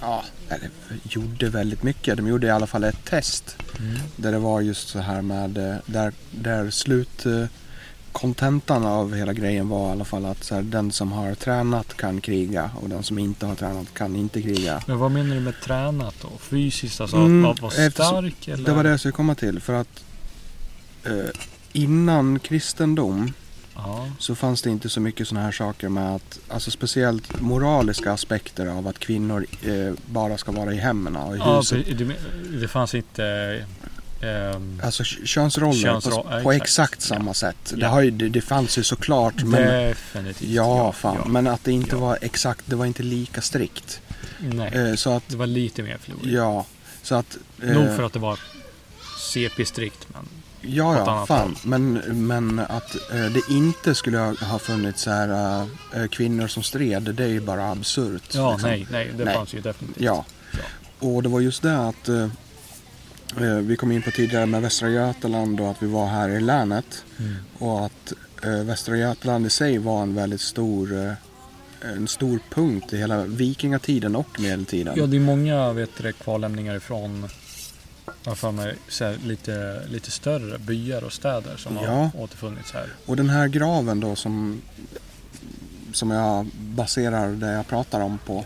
S1: Ja, eller gjorde väldigt mycket. De gjorde i alla fall ett test
S2: Mm.
S1: där det var just så här med... eh, Där, där slut... eh, Kontentan av hela grejen var i alla fall att så här, den som har tränat kan kriga och den som inte har tränat kan inte kriga.
S2: Men vad menar du med tränat då? Fysiskt, alltså
S1: Mm,
S2: att vara
S1: eftersom-
S2: stark? Eller?
S1: Det var det jag skulle komma till för att eh, innan kristendom
S2: Ja,
S1: så fanns det inte så mycket sådana här saker med att, alltså speciellt moraliska aspekter av att kvinnor eh, bara ska vara i hemmen och i
S2: ja
S1: huset.
S2: pre- du men- det fanns inte... ehm,
S1: Alltså k- könsroller
S2: Könsro-
S1: på,
S2: ja,
S1: på
S2: exakt.
S1: exakt samma sätt. Det,
S2: Ja.
S1: har ju, det, det fanns ju såklart men
S2: definitivt.
S1: Ja, fan. Men att det inte
S2: Ja.
S1: var exakt, det var inte lika strikt.
S2: Nej,
S1: Eh, så att,
S2: det var lite mer florigt.
S1: ja. Så att... eh,
S2: Nog för att det var CP-strikt, men...
S1: Ja,
S2: Åt
S1: ja,
S2: annat
S1: fan.
S2: håll.
S1: Men, men att eh, det inte skulle ha- ha funnits så här, eh, kvinnor som stred, det är ju bara absurt.
S2: Ja,
S1: liksom.
S2: nej, nej. Det
S1: Nej.
S2: fanns ju definitivt.
S1: Ja. Och det var just det att eh, eh, vi kom in på tidigare med Västra Götaland och att vi var här i länet.
S2: Mm.
S1: Och att eh, Västra Götaland i sig var en väldigt stor, eh, en stor punkt i hela vikingatiden och medeltiden.
S2: Ja, det är många vet du, kvarlämningar ifrån jag har för mig, så här, lite, lite större byar och städer som
S1: Ja.
S2: har återfunnits här.
S1: Och den här graven då som, som jag baserar det jag pratar om på,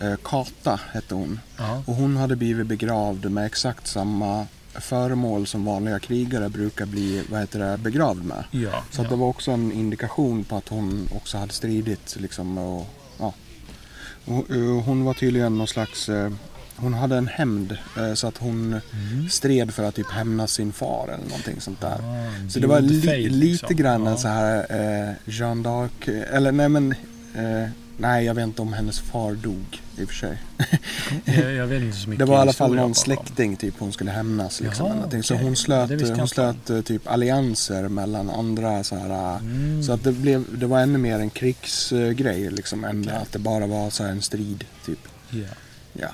S1: eh, Kata hette hon.
S2: Ja.
S1: Och hon hade blivit begravd med exakt samma föremål som vanliga krigare brukar bli vad heter det, begravd med.
S2: Ja.
S1: Så att det var också en indikation på att hon också hade stridit. Liksom, och, ja. och, eh, hon var tydligen någon slags... eh, Hon hade en hämnd eh, så att hon
S2: Mm.
S1: stred för att typ hämnas sin far eller någonting sånt där.
S2: Ah,
S1: Så det var li,
S2: guild fate,
S1: lite
S2: liksom.
S1: grann
S2: Ja.
S1: en så här eh, Jeanne d'Arc, eh, eller nej men, eh, nej jag vet inte om hennes far dog i och för sig.
S2: Jag, jag vet inte så
S1: <laughs>
S2: mycket
S1: Det var i alla fall
S2: historia
S1: någon
S2: bakom.
S1: släkting typ hon skulle hämnas liksom.
S2: Jaha,
S1: eller någonting. Så
S2: okej.
S1: hon slöt,
S2: Det visste jag
S1: hon
S2: inte
S1: slöt eh, typ allianser mellan andra så här. eh,
S2: Mm.
S1: Så att det, blev, det var ännu mer en krigsgrej liksom än
S2: Okej.
S1: att det bara var så här en strid typ.
S2: Ja.
S1: Ja.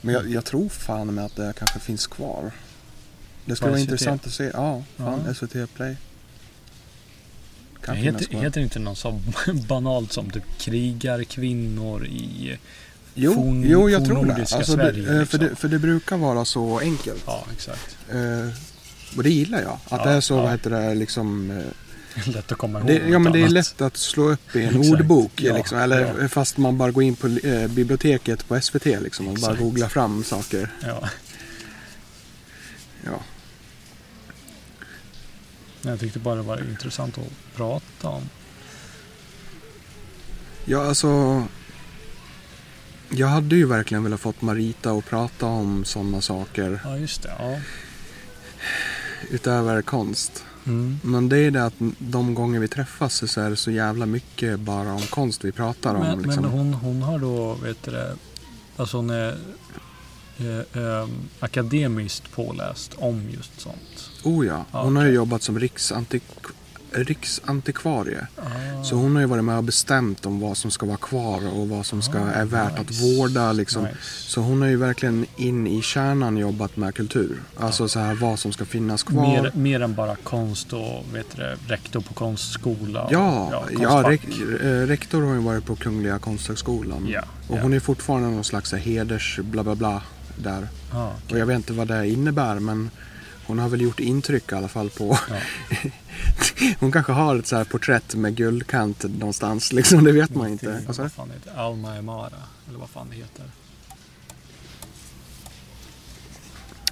S1: Men jag, jag tror fan med att det här kanske finns kvar. Det skulle
S2: På
S1: vara
S2: SVT?
S1: intressant att se. Ja, fan
S2: Ja.
S1: SVT Play.
S2: Men
S1: Kan finnas
S2: Heter, <laughs>
S1: kvar.
S2: heter det inte något så banalt som typ krigarkvinnor i,
S1: Jo,
S2: forn-
S1: jo jag tror det.
S2: fornnordiska
S1: Alltså, det
S2: Sverige,
S1: eh, för,
S2: liksom.
S1: det för det brukar vara så enkelt.
S2: Ja, exakt.
S1: Eh, och det gillar jag. Att
S2: Ja,
S1: det är så,
S2: ja.
S1: vad heter det, liksom... eh,
S2: Lätt att komma ihåg.
S1: Det, ja,
S2: något
S1: men det är
S2: annat.
S1: lätt att slå upp i en
S2: Exakt.
S1: ordbok.
S2: Ja,
S1: liksom, eller fast man bara går in på eh, biblioteket på SVT liksom, och bara
S2: Exakt.
S1: googlar fram saker.
S2: Ja. <laughs>
S1: Ja.
S2: Men Jag tyckte bara det var intressant att prata om.
S1: Ja, alltså. Jag hade ju verkligen velat fått Marita att prata om sådana saker
S2: Ja, just det. Ja.
S1: utöver konst.
S2: Mm.
S1: Men det är det att de gånger vi träffas så är det så jävla mycket bara om konst vi pratar om.
S2: Men,
S1: liksom.
S2: men hon, hon har då, vet du det, alltså hon är eh, ehm, akademiskt påläst om just sånt.
S1: Oh ja,
S2: Ja,
S1: hon har ju
S2: okej.
S1: jobbat som riksantik... riksantikvarie.
S2: Ah.
S1: Så hon har ju varit med och bestämt om vad som ska vara kvar och vad som ska,
S2: Ah,
S1: är värt att
S2: nice.
S1: vårda. Liksom.
S2: Nice.
S1: Så hon har ju verkligen in i kärnan jobbat med kultur. Alltså så här vad som ska finnas kvar.
S2: Mer, mer än bara konst och vet du, det, rektor på konstskola. och-
S1: Ja, ja,
S2: konstfack.
S1: rek- eh, rektor har ju varit på Kungliga Konsthögskolan.
S2: Ja,
S1: och
S2: ja.
S1: hon är fortfarande någon slags heders bla bla bla där.
S2: Ah, okej.
S1: Och jag vet inte vad det innebär men hon har väl gjort intryck i alla fall på...
S2: Ja.
S1: <laughs> Hon kanske har ett så här porträtt med guldkant någonstans liksom, det vet man inte. Vad sa du?
S2: Vad fan heter det? Alma Emara, eller vad fan det heter.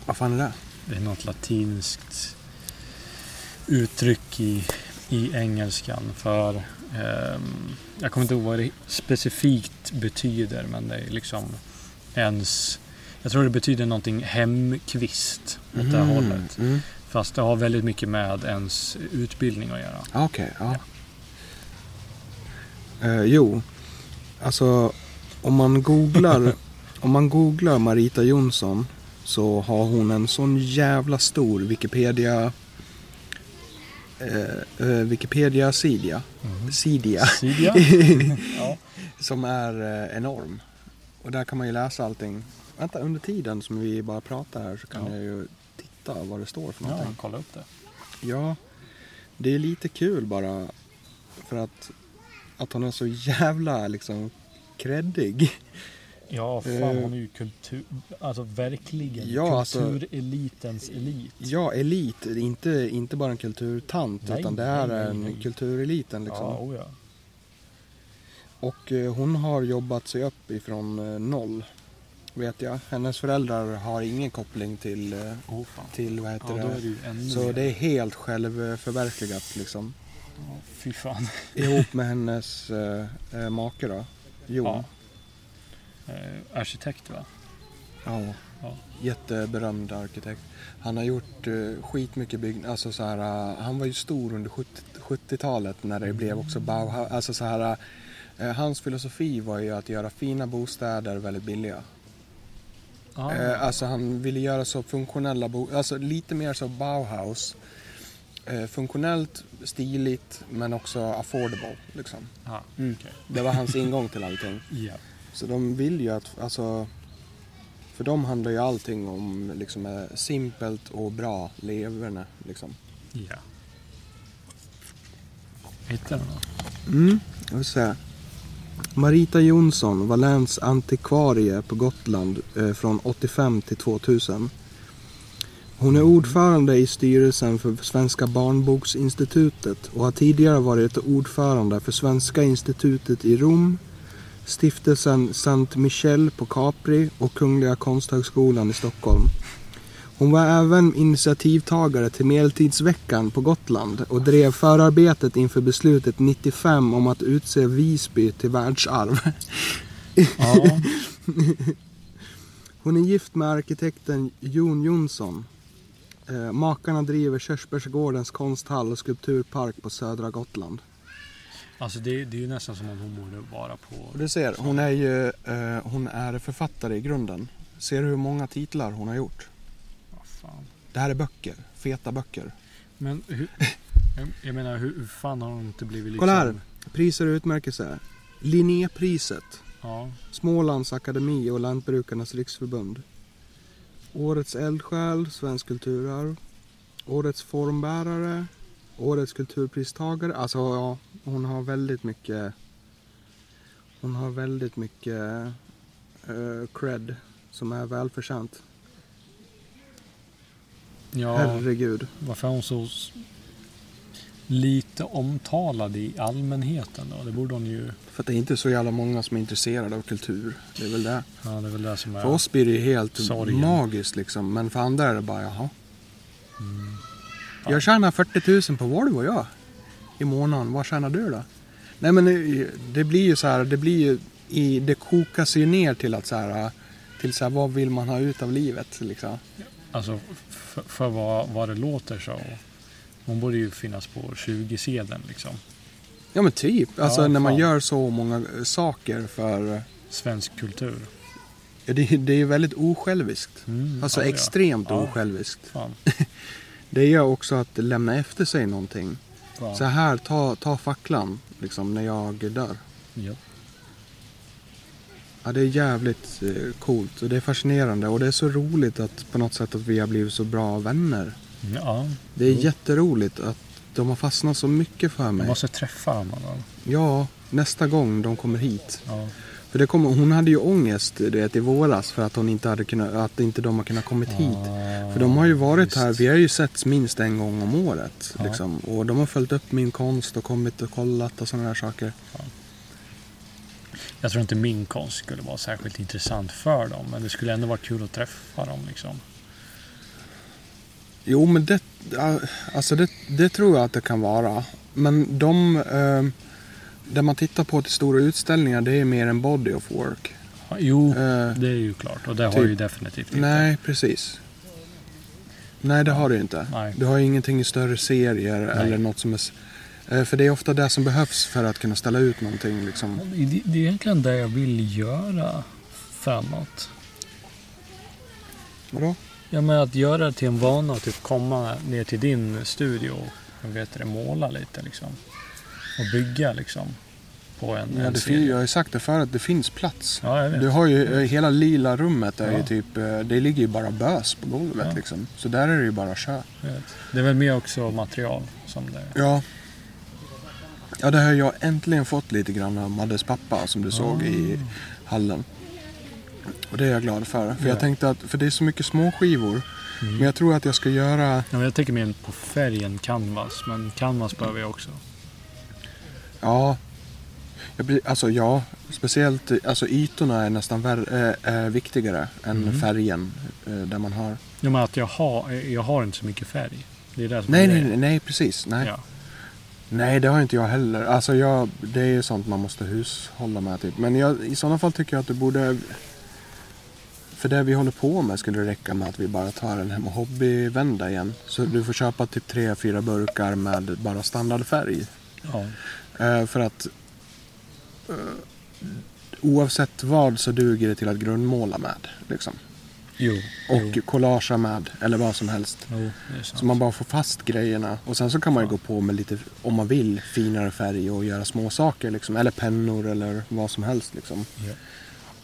S1: Vad fan är det?
S2: Det är något latinskt uttryck i, i engelskan för ehm, jag kommer inte ihåg vad det specifikt betyder men det är liksom ens jag tror det betyder någonting hemkvist åt det här hållet.
S1: Mm.
S2: Fast det har väldigt mycket med ens utbildning att göra.
S1: Ah, Okej, ja. Eh, jo, alltså om man
S2: <laughs>
S1: googlar, om man googlar Marita Jonsson så har hon en sån jävla stor Wikipedia eh, eh, Wikipedia sidia,
S2: Mm.
S1: sidia <laughs>
S2: <laughs> Sidia? ja.
S1: som är eh, enorm. Och där kan man ju läsa allting. Vänta, under tiden som vi bara pratar här så kan
S2: Ja.
S1: jag ju titta vad det står för någonting.
S2: ja, kolla upp det.
S1: Ja, det är lite kul bara för att, att hon är så jävla liksom kreddig.
S2: Ja, fan
S1: Eh.
S2: hon är ju kultur, alltså verkligen
S1: Ja, alltså-
S2: kulturelitens elit.
S1: Ja, elit, inte, inte bara en kulturtant
S2: Nej,
S1: utan det är
S2: nej, nej,
S1: en
S2: nej.
S1: kultureliten liksom.
S2: Ja, oh ja.
S1: Och eh, hon har jobbat sig upp ifrån eh, noll, vet jag. Hennes föräldrar har ingen koppling till, eh,
S2: Oh, fan.
S1: till vad heter
S2: Ja, då är det
S1: det?
S2: ju ännu
S1: Så
S2: mer.
S1: det är helt självförverkligat liksom.
S2: Ja, Fy fan.
S1: Ihop med hennes eh, eh, make då, Jon.
S2: Ja. <laughs> Eh, arkitekt va?
S1: Ja.
S2: Ja.
S1: Jätteberömd arkitekt. Han har gjort uh, skitmycket byggnader. Alltså, så här, eh, han var ju stor under 70- 70-talet när det blev också Bauhaus. Alltså, så här, eh, hans filosofi var ju att göra fina bostäder väldigt billiga.
S2: Ja.
S1: Eh, alltså han ville göra så funktionella bo- alltså lite mer så Bauhaus. Eh, funktionellt, stiligt men också affordable. Liksom.
S2: Ja, okej.
S1: Det var
S2: <laughs>
S1: hans ingång till allting.
S2: Ja.
S1: Så de vill ju att, alltså, för dem handlar ju allting om liksom, eh, simpelt och bra leverne. Liksom.
S2: ja. Hittar du något?
S1: Mm, jag vill säga. Marita Jonsson var länsantikvarie på Gotland eh, från 85 till 2000. Hon är ordförande i styrelsen för Svenska barnboksinstitutet och har tidigare varit ordförande för Svenska institutet i Rom, stiftelsen Sankt Michel på Capri och Kungliga Konsthögskolan i Stockholm. Hon var även initiativtagare till Medeltidsveckan på Gotland och drev förarbetet inför beslutet 95 om att utse Visby till världsarv.
S2: <laughs> Ja.
S1: Hon är gift med arkitekten Jon Jonsson. Eh, makarna driver Körsbärsgårdens konsthall och skulpturpark på södra Gotland.
S2: Alltså det, det är ju nästan som om hon borde vara på...
S1: Och du ser, hon är ju eh, hon är författare i grunden. Ser du hur många titlar hon har gjort?
S2: Vad fan.
S1: Det här är böcker, feta böcker.
S2: Men hur...
S1: <laughs>
S2: jag- Jag menar hur hur fan har hon inte blivit liksom...
S1: Kolla här, priser och utmärkelser. Linnépriset.
S2: Ja.
S1: Smålands akademi och Lantbrukarnas riksförbund. Årets eldsjäl, Svensk kulturarv. Årets formbärare. Årets kulturpristagare. Alltså ja, hon har väldigt mycket... Hon har väldigt mycket eh, cred som är välförtjänt.
S2: Ja,
S1: Herregud.
S2: varför är hon så s- lite omtalad i allmänheten då? Det borde hon ju...
S1: För att det är inte så jävla många som är intresserade av kultur. Det är väl det.
S2: Ja, det är väl det som är...
S1: För oss blir det ju helt
S2: Sorgen.
S1: magiskt liksom. Men för andra är det bara jaha.
S2: Mm. Fan.
S1: Jag tjänar 40 000 på Volvo jag. I månaden. Vad tjänar du då? Nej men det- det blir ju så här. Det blir ju. I, det kokas ju ner till att så här. eh, Till så här vad vill man ha ut av livet liksom.
S2: Alltså, för, för vad, vad det låter så. Hon borde ju finnas på 20-sedeln liksom.
S1: Ja men typ. Alltså
S2: Ja,
S1: när man
S2: fan.
S1: gör så många eh, saker för.
S2: Svensk kultur.
S1: Ja, det, det är ju väldigt osjälviskt.
S2: Mm,
S1: Alltså
S2: ja, ja.
S1: extremt
S2: Ja.
S1: osjälviskt. <laughs>
S2: Fan.
S1: Det gör också att lämna efter sig någonting.
S2: Fan.
S1: Så här, ta, ta facklan liksom när jag dör.
S2: Ja.
S1: Ja, det är jävligt eh, coolt och det är fascinerande och det är så roligt att på något sätt att vi har blivit så bra vänner.
S2: ja.
S1: Det är
S2: Jo.
S1: jätteroligt att de har fastnat så mycket för
S2: Jag
S1: mig.
S2: måste träffa honom. då.
S1: Ja, nästa gång de kommer hit.
S2: Ja.
S1: För det kommer, hon hade ju ångest du vet, i våras för att, hon inte hade kunnat, att inte de har kunnat kommit hit.
S2: Ah,
S1: För de har ju varit
S2: just.
S1: här, vi har ju setts minst en gång om året.
S2: Ja.
S1: Liksom. Och de har följt upp min konst och kommit och kollat och sådana där saker.
S2: Jag tror inte min konst skulle vara särskilt intressant för dem. Men det skulle ändå vara kul att träffa dem liksom.
S1: Jo, men det, ja, alltså det, det tror jag att det kan vara. Men de, eh, det man tittar på till stora utställningar, det är mer en body of work.
S2: Ja, Jo,
S1: Eh,
S2: det är ju klart. Och det har
S1: typ.
S2: ju definitivt inte.
S1: nej, precis. Nej, det har du ju inte.
S2: Nej.
S1: Du har ju ingenting i större serier
S2: Nej.
S1: eller något som är... s- eh, För det är ofta det som behövs för att kunna ställa ut någonting. Liksom.
S2: Det, det är egentligen det jag vill göra framåt.
S1: Vadå?
S2: Ja, men att göra det till en vana och typ komma ner till din studio och jag vet det, måla lite liksom. Och bygga liksom. På en,
S1: Ja,
S2: en
S1: det
S2: serie.
S1: fin- jag har ju sagt det förut, det finns plats.
S2: Ja, jag vet.
S1: Du har ju, eh, hela lila rummet är ju
S2: Ja.
S1: typ, eh, det ligger ju bara bös på golvet
S2: Ja.
S1: liksom. Så där är det ju bara kött.
S2: jag vet. Det är väl mer också material som det
S1: Ja. Ja, det har jag äntligen fått lite grann av Maddes pappa som du såg i hallen. Och det är jag glad för. För jag
S2: Ja. Mm.
S1: tänkte att, för det är så mycket små skivor. Men jag tror att jag ska göra,
S2: Ja, men jag tänker mer på färgen canvas, men canvas behöver jag också.
S1: ja. Jag blir, alltså ja, speciellt alltså ytorna är nästan vär, eh, är viktigare än
S2: Mm.
S1: färgen eh, där man har.
S2: Ja, men att jag har, jag har inte så mycket färg. Det är det som
S1: Nej,
S2: är
S1: nej,
S2: grejen.
S1: nej, nej precis. Nej.
S2: Ja.
S1: Nej, det har inte jag heller. Alltså jag, det är ju sånt man måste hushålla med. Typ. Men jag, i sådana fall tycker jag att du borde... För det vi håller på med skulle det räcka med att vi bara tar en hem och hobbyvända igen. Så du får köpa typ tre, fyra burkar med bara standardfärg.
S2: Ja.
S1: Eh, för att eh, oavsett vad så duger det till att grundmåla med. Liksom.
S2: Jo.
S1: Och
S2: jo.
S1: collagea med, eller vad som helst.
S2: jo det är sant.
S1: Så man bara får fast grejerna. Och sen så kan man ju
S2: Ja.
S1: gå på med lite, om man vill, finare färg och göra små saker liksom. Eller pennor eller vad som helst liksom.
S2: Ja.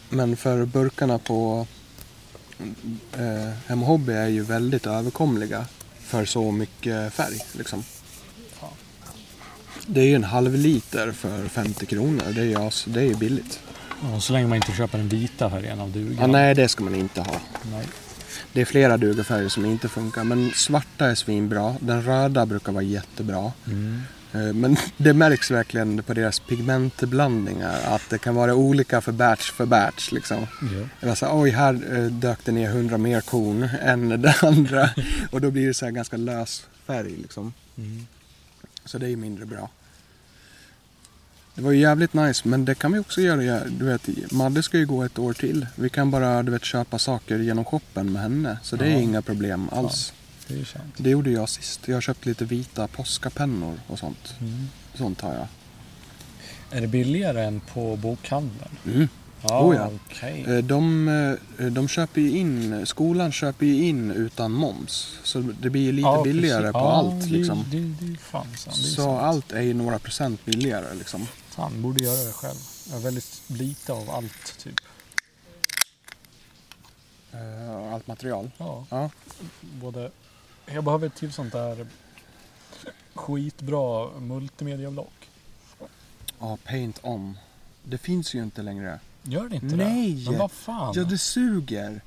S1: Men för burkarna på eh, Hem och Hobby är ju väldigt överkomliga för så mycket färg liksom.
S2: Ja.
S1: Det är ju en halv liter för 50 kronor. Det är ju, as- det är ju billigt.
S2: Ja, så länge man inte köper den vita färgen av dugan.
S1: Ja, nej, det ska man inte ha.
S2: Nej.
S1: Det är flera dugafärger som inte funkar. Men svarta är svinbra. Den röda brukar vara jättebra.
S2: Mm.
S1: Eh, Men <laughs> det märks verkligen på deras pigmentblandningar att det kan vara olika för batch för batch. Liksom.
S2: Ja.
S1: Det var så här, oj här eh, dök det ner 100 mer korn <laughs> än det andra. <laughs> Och då blir det så här ganska lös färg. Liksom.
S2: Mm.
S1: Så det är ju mindre bra. Det var ju jävligt nice, men det kan vi också göra. Du vet, Madde ska ju gå ett år till. Vi kan bara du vet, köpa saker genom shoppen med henne. Så det är
S2: Ja.
S1: inga problem alls.
S2: Det är ju sant.
S1: Det gjorde jag sist. Jag köpte lite vita påskapennor och sånt.
S2: Mm.
S1: Sånt har jag.
S2: Är det billigare än på bokhandeln?
S1: Mm. Oh, ja.
S2: Okej.
S1: Eh, De, eh, de köper ju in, skolan köper ju in utan moms. Så det blir ju lite
S2: Ja,
S1: billigare
S2: precis.
S1: på
S2: ja,
S1: allt.
S2: det-
S1: Liksom.
S2: Det, det, är fan sant. Det är
S1: Så
S2: sant.
S1: allt är ju några procent billigare. Liksom.
S2: Fan, borde göra det själv. Jag har väldigt lite av allt typ.
S1: Eh, Allt material.
S2: Ja.
S1: Ja.
S2: både... Jag behöver ett till sånt där skitbra multimediablock.
S1: ja, paint on. Det finns ju inte längre.
S2: Gör det inte
S1: Nej!
S2: det? Men vad fan?
S1: Ja, det suger.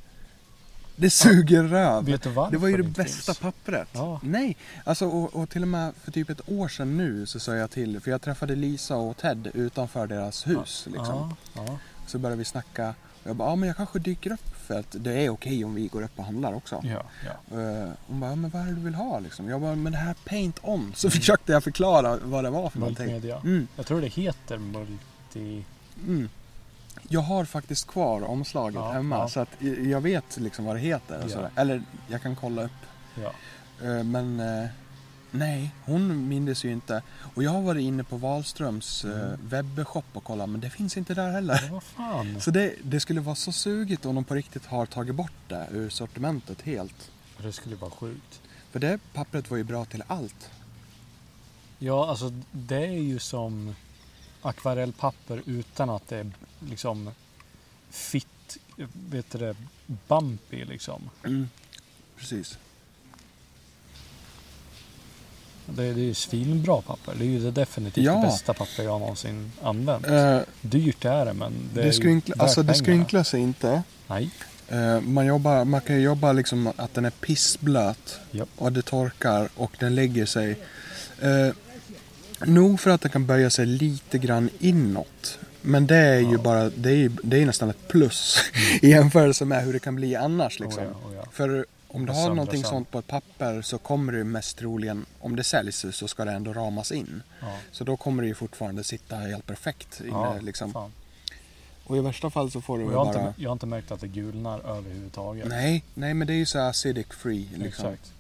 S1: Det suger röv.
S2: Vet du varför
S1: Det var ju det
S2: inte
S1: bästa
S2: finns?
S1: pappret.
S2: Ja.
S1: Nej, alltså och, och till och med för typ ett år sedan nu så sa jag till, för jag träffade Lisa och Ted utanför deras hus. Liksom.
S2: Ja, ja.
S1: Så började vi snacka och jag bara, ja men jag kanske dyker upp för att det är okej om vi går upp och handlar också.
S2: Ja, ja.
S1: Eh, hon bara, ja, men vad är det du vill ha liksom? Jag bara, men det här paint on.
S2: Mm.
S1: Så försökte jag förklara vad det var för någonting.
S2: Multimedia.
S1: Mm,
S2: Jag tror det heter multi...
S1: mm. Jag har faktiskt kvar omslaget
S2: Ja,
S1: hemma
S2: ja.
S1: så att i- jag vet liksom vad det heter. Och
S2: Ja.
S1: sådär. Eller jag kan kolla upp.
S2: Ja.
S1: Eh, Men eh, nej, hon mindes ju inte. Och jag har varit inne på Wahlströms eh,
S2: Mm.
S1: webbshop och kollat men det finns inte där heller.
S2: Men vad fan?
S1: Så det, det skulle vara så sugigt om de på riktigt har tagit bort det ur sortimentet helt.
S2: Det skulle vara sjukt.
S1: För det pappret var ju bra till allt.
S2: Ja, alltså det är ju som akvarellpapper utan att det är liksom fitt, vet du det, bumpy liksom.
S1: Precis.
S2: Det, det är ju svinbra papper. Det är ju det definitivt
S1: Ja.
S2: det bästa papper jag någonsin använt.
S1: Eh,
S2: Dyrt är det, men det,
S1: det,
S2: är ju
S1: skrynkla,
S2: värt
S1: alltså, det
S2: pengarna.
S1: skrynklar sig inte.
S2: Nej,
S1: Eh, man, jobbar, man kan ju jobba liksom att den är pissblöt
S2: Japp.
S1: och det torkar och den lägger sig. Eh, nog för att den kan böja sig lite grann inåt. Men det är ju
S2: Ja.
S1: bara, det är, ju- det är nästan ett plus <laughs> i jämförelse med hur det kan bli annars. Liksom.
S2: oh ja, oh ja.
S1: För om du
S2: Och
S1: har
S2: söndra
S1: någonting
S2: sönder.
S1: sånt på ett papper så kommer det ju mest troligen, om det säljs så ska det ändå ramas in.
S2: Ja.
S1: Så då kommer det ju fortfarande sitta helt perfekt inne
S2: Ja,
S1: liksom.
S2: fan.
S1: Och i värsta fall så får du
S2: Och
S1: väl
S2: jag, har
S1: bara...
S2: inte, jag har inte märkt att det gulnar överhuvudtaget.
S1: Nej, nej men det är ju så här acidic free liksom.
S2: Exakt.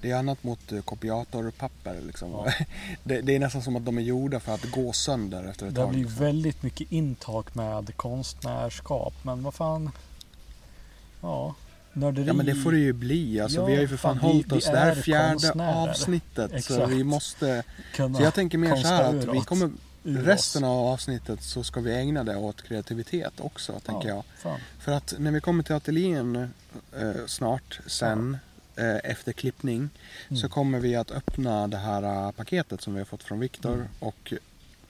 S1: Det är annat mot eh, kopiatorpapper liksom.
S2: Ja.
S1: <laughs> det, det är nästan som att de är gjorda för att gå sönder efter ett
S2: Det
S1: tag.
S2: blir
S1: Liksom.
S2: väldigt mycket intag med konstnärskap, men vad fan. Ja, nörderi.
S1: Ja men det får det ju bli. Alltså,
S2: Ja,
S1: vi har ju för fan,
S2: fan, vi-
S1: hållit
S2: vi
S1: oss. Det här
S2: är
S1: är fjärde
S2: konstnärer.
S1: avsnittet. Så
S2: Exakt.
S1: vi måste...
S2: kunna
S1: Så jag tänker mer så här
S2: konsta
S1: att vi
S2: uråt.
S1: kommer...
S2: ur oss.
S1: Resten av avsnittet så ska vi ägna det åt kreativitet också, tänker
S2: ja,
S1: jag.
S2: Fan.
S1: För att när vi kommer till ateljén eh, snart, sen, eh, efter klippning, så
S2: Mm.
S1: kommer vi att öppna det här eh, paketet som vi har fått från Viktor.
S2: Mm.
S1: Och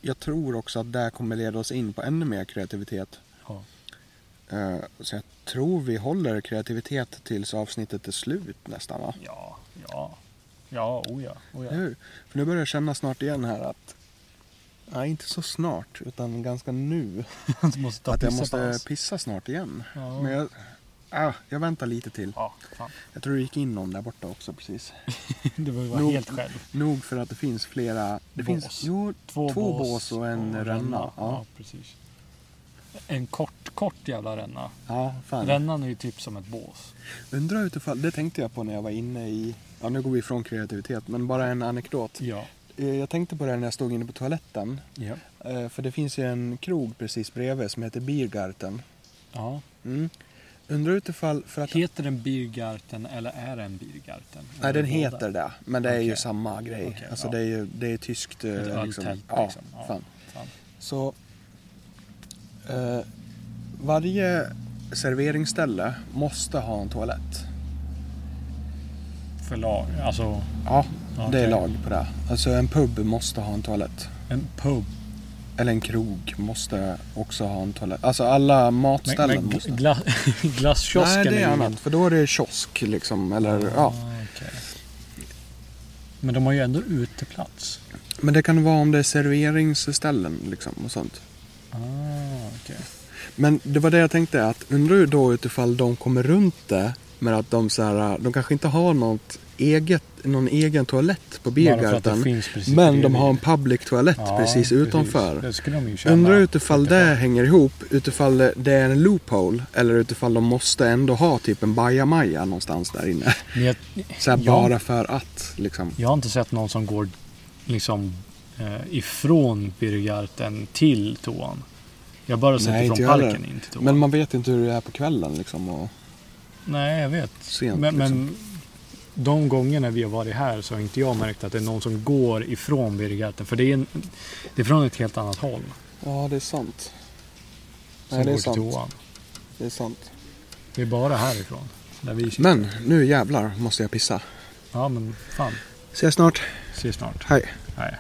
S1: jag tror också att det här kommer leda oss in på ännu mer kreativitet.
S2: Ja.
S1: Eh, så jag tror vi håller kreativitet tills avsnittet är slut nästan, va?
S2: ja, ja, ja, oh ja, oh ja.
S1: Nu, för nu börjar jag känna snart igen här att, nej inte så snart, utan ganska nu.
S2: <laughs> Du måste ta
S1: att jag
S2: pissa på
S1: måste
S2: oss.
S1: pissa snart igen.
S2: Ja.
S1: Men jag, ah, jag väntar lite till.
S2: Ja, fan. <laughs>
S1: Jag tror det gick in någon där borta också precis.
S2: Du behöver vara
S1: Nog-
S2: helt själv.
S1: Nog för att det finns flera... Det
S2: Bås.
S1: finns jo, två, bås, och en ränna.
S2: ja,
S1: Ja.
S2: precis. En kort, kort jävla ränna.
S1: ja, fan.
S2: Rännan är ju typ som ett bås.
S1: Undrar utifall, det tänkte jag på när jag var inne i... Ja, nu går vi ifrån kreativitet, men bara en anekdot.
S2: Ja.
S1: Eh, Jag tänkte på det här när jag stod inne på toaletten.
S2: Ja.
S1: eh, För det finns ju en krog precis bredvid som heter Biergarten.
S2: ja.
S1: Mm. Undrar utifall... För att,
S2: Heter den Birgarten eller är det en Birgarten?
S1: nej,
S2: Eller
S1: den
S2: båda?
S1: heter det, men det är ju
S2: Okej.
S1: samma grej.
S2: Okej,
S1: alltså
S2: ja.
S1: det är ju det är tyskt... eh,
S2: Ett
S1: liksom,
S2: öltält
S1: ja,
S2: liksom. Ja,
S1: fan.
S2: fan.
S1: Så eh, varje serveringsställe måste ha en toalett.
S2: För lag, alltså
S1: Ja, det är
S2: okej.
S1: lag på det. Alltså en pub måste ha en toalett.
S2: en pub.
S1: Eller en krog måste också ha en toalett. Alltså alla matställen
S2: Men, men
S1: måste.
S2: gla, gla- <laughs> glasskiosken
S1: Nej, det är
S2: ju
S1: annat. För då är det kiosk liksom. Eller,
S2: ingen-
S1: ja.
S2: Ah, okej. Men de har ju ändå uteplats.
S1: Men det kan vara om det är serveringsställen liksom och sånt.
S2: Ah, okej.
S1: Men det var det jag tänkte att undrar ju då utifall de kommer runt det med att de så här, de kanske inte har något eget, någon egen toalett på
S2: Bara för att det
S1: Birgarten.
S2: finns precis
S1: Men de
S2: bredvid.
S1: har en public toalett
S2: Ja,
S1: precis utanför.
S2: Det skulle de ju tjäna.
S1: Undrar utifall
S2: lite
S1: det hänger ihop, utifall det är en loophole eller utifall de måste ändå ha typ en bajamaja någonstans där inne. <laughs>
S2: på. Men jag,
S1: Så här,
S2: Ja.
S1: bara för att liksom.
S2: jag har inte sett någon som går liksom eh, ifrån Birgarten till toan. Jag har bara sett
S1: Nej, inte
S2: ifrån
S1: jag heller.
S2: parken in till toan.
S1: Men man vet inte hur det är på kvällen liksom. Och...
S2: Nej, jag vet.
S1: Sent,
S2: men,
S1: liksom.
S2: men de gångerna vi har varit här så har inte jag märkt att det är någon som går ifrån Birgarten. För det är, en, det är från ett helt annat håll.
S1: Ja, det är sant.
S2: Som
S1: Nej, det är
S2: går till
S1: sant.
S2: toan.
S1: Det är sant.
S2: Det är bara härifrån. Där vi sitter.
S1: Men nu jävlar måste jag pissa.
S2: Ja, men fan.
S1: Ses snart.
S2: Ses snart.
S1: Hej.
S2: Nej.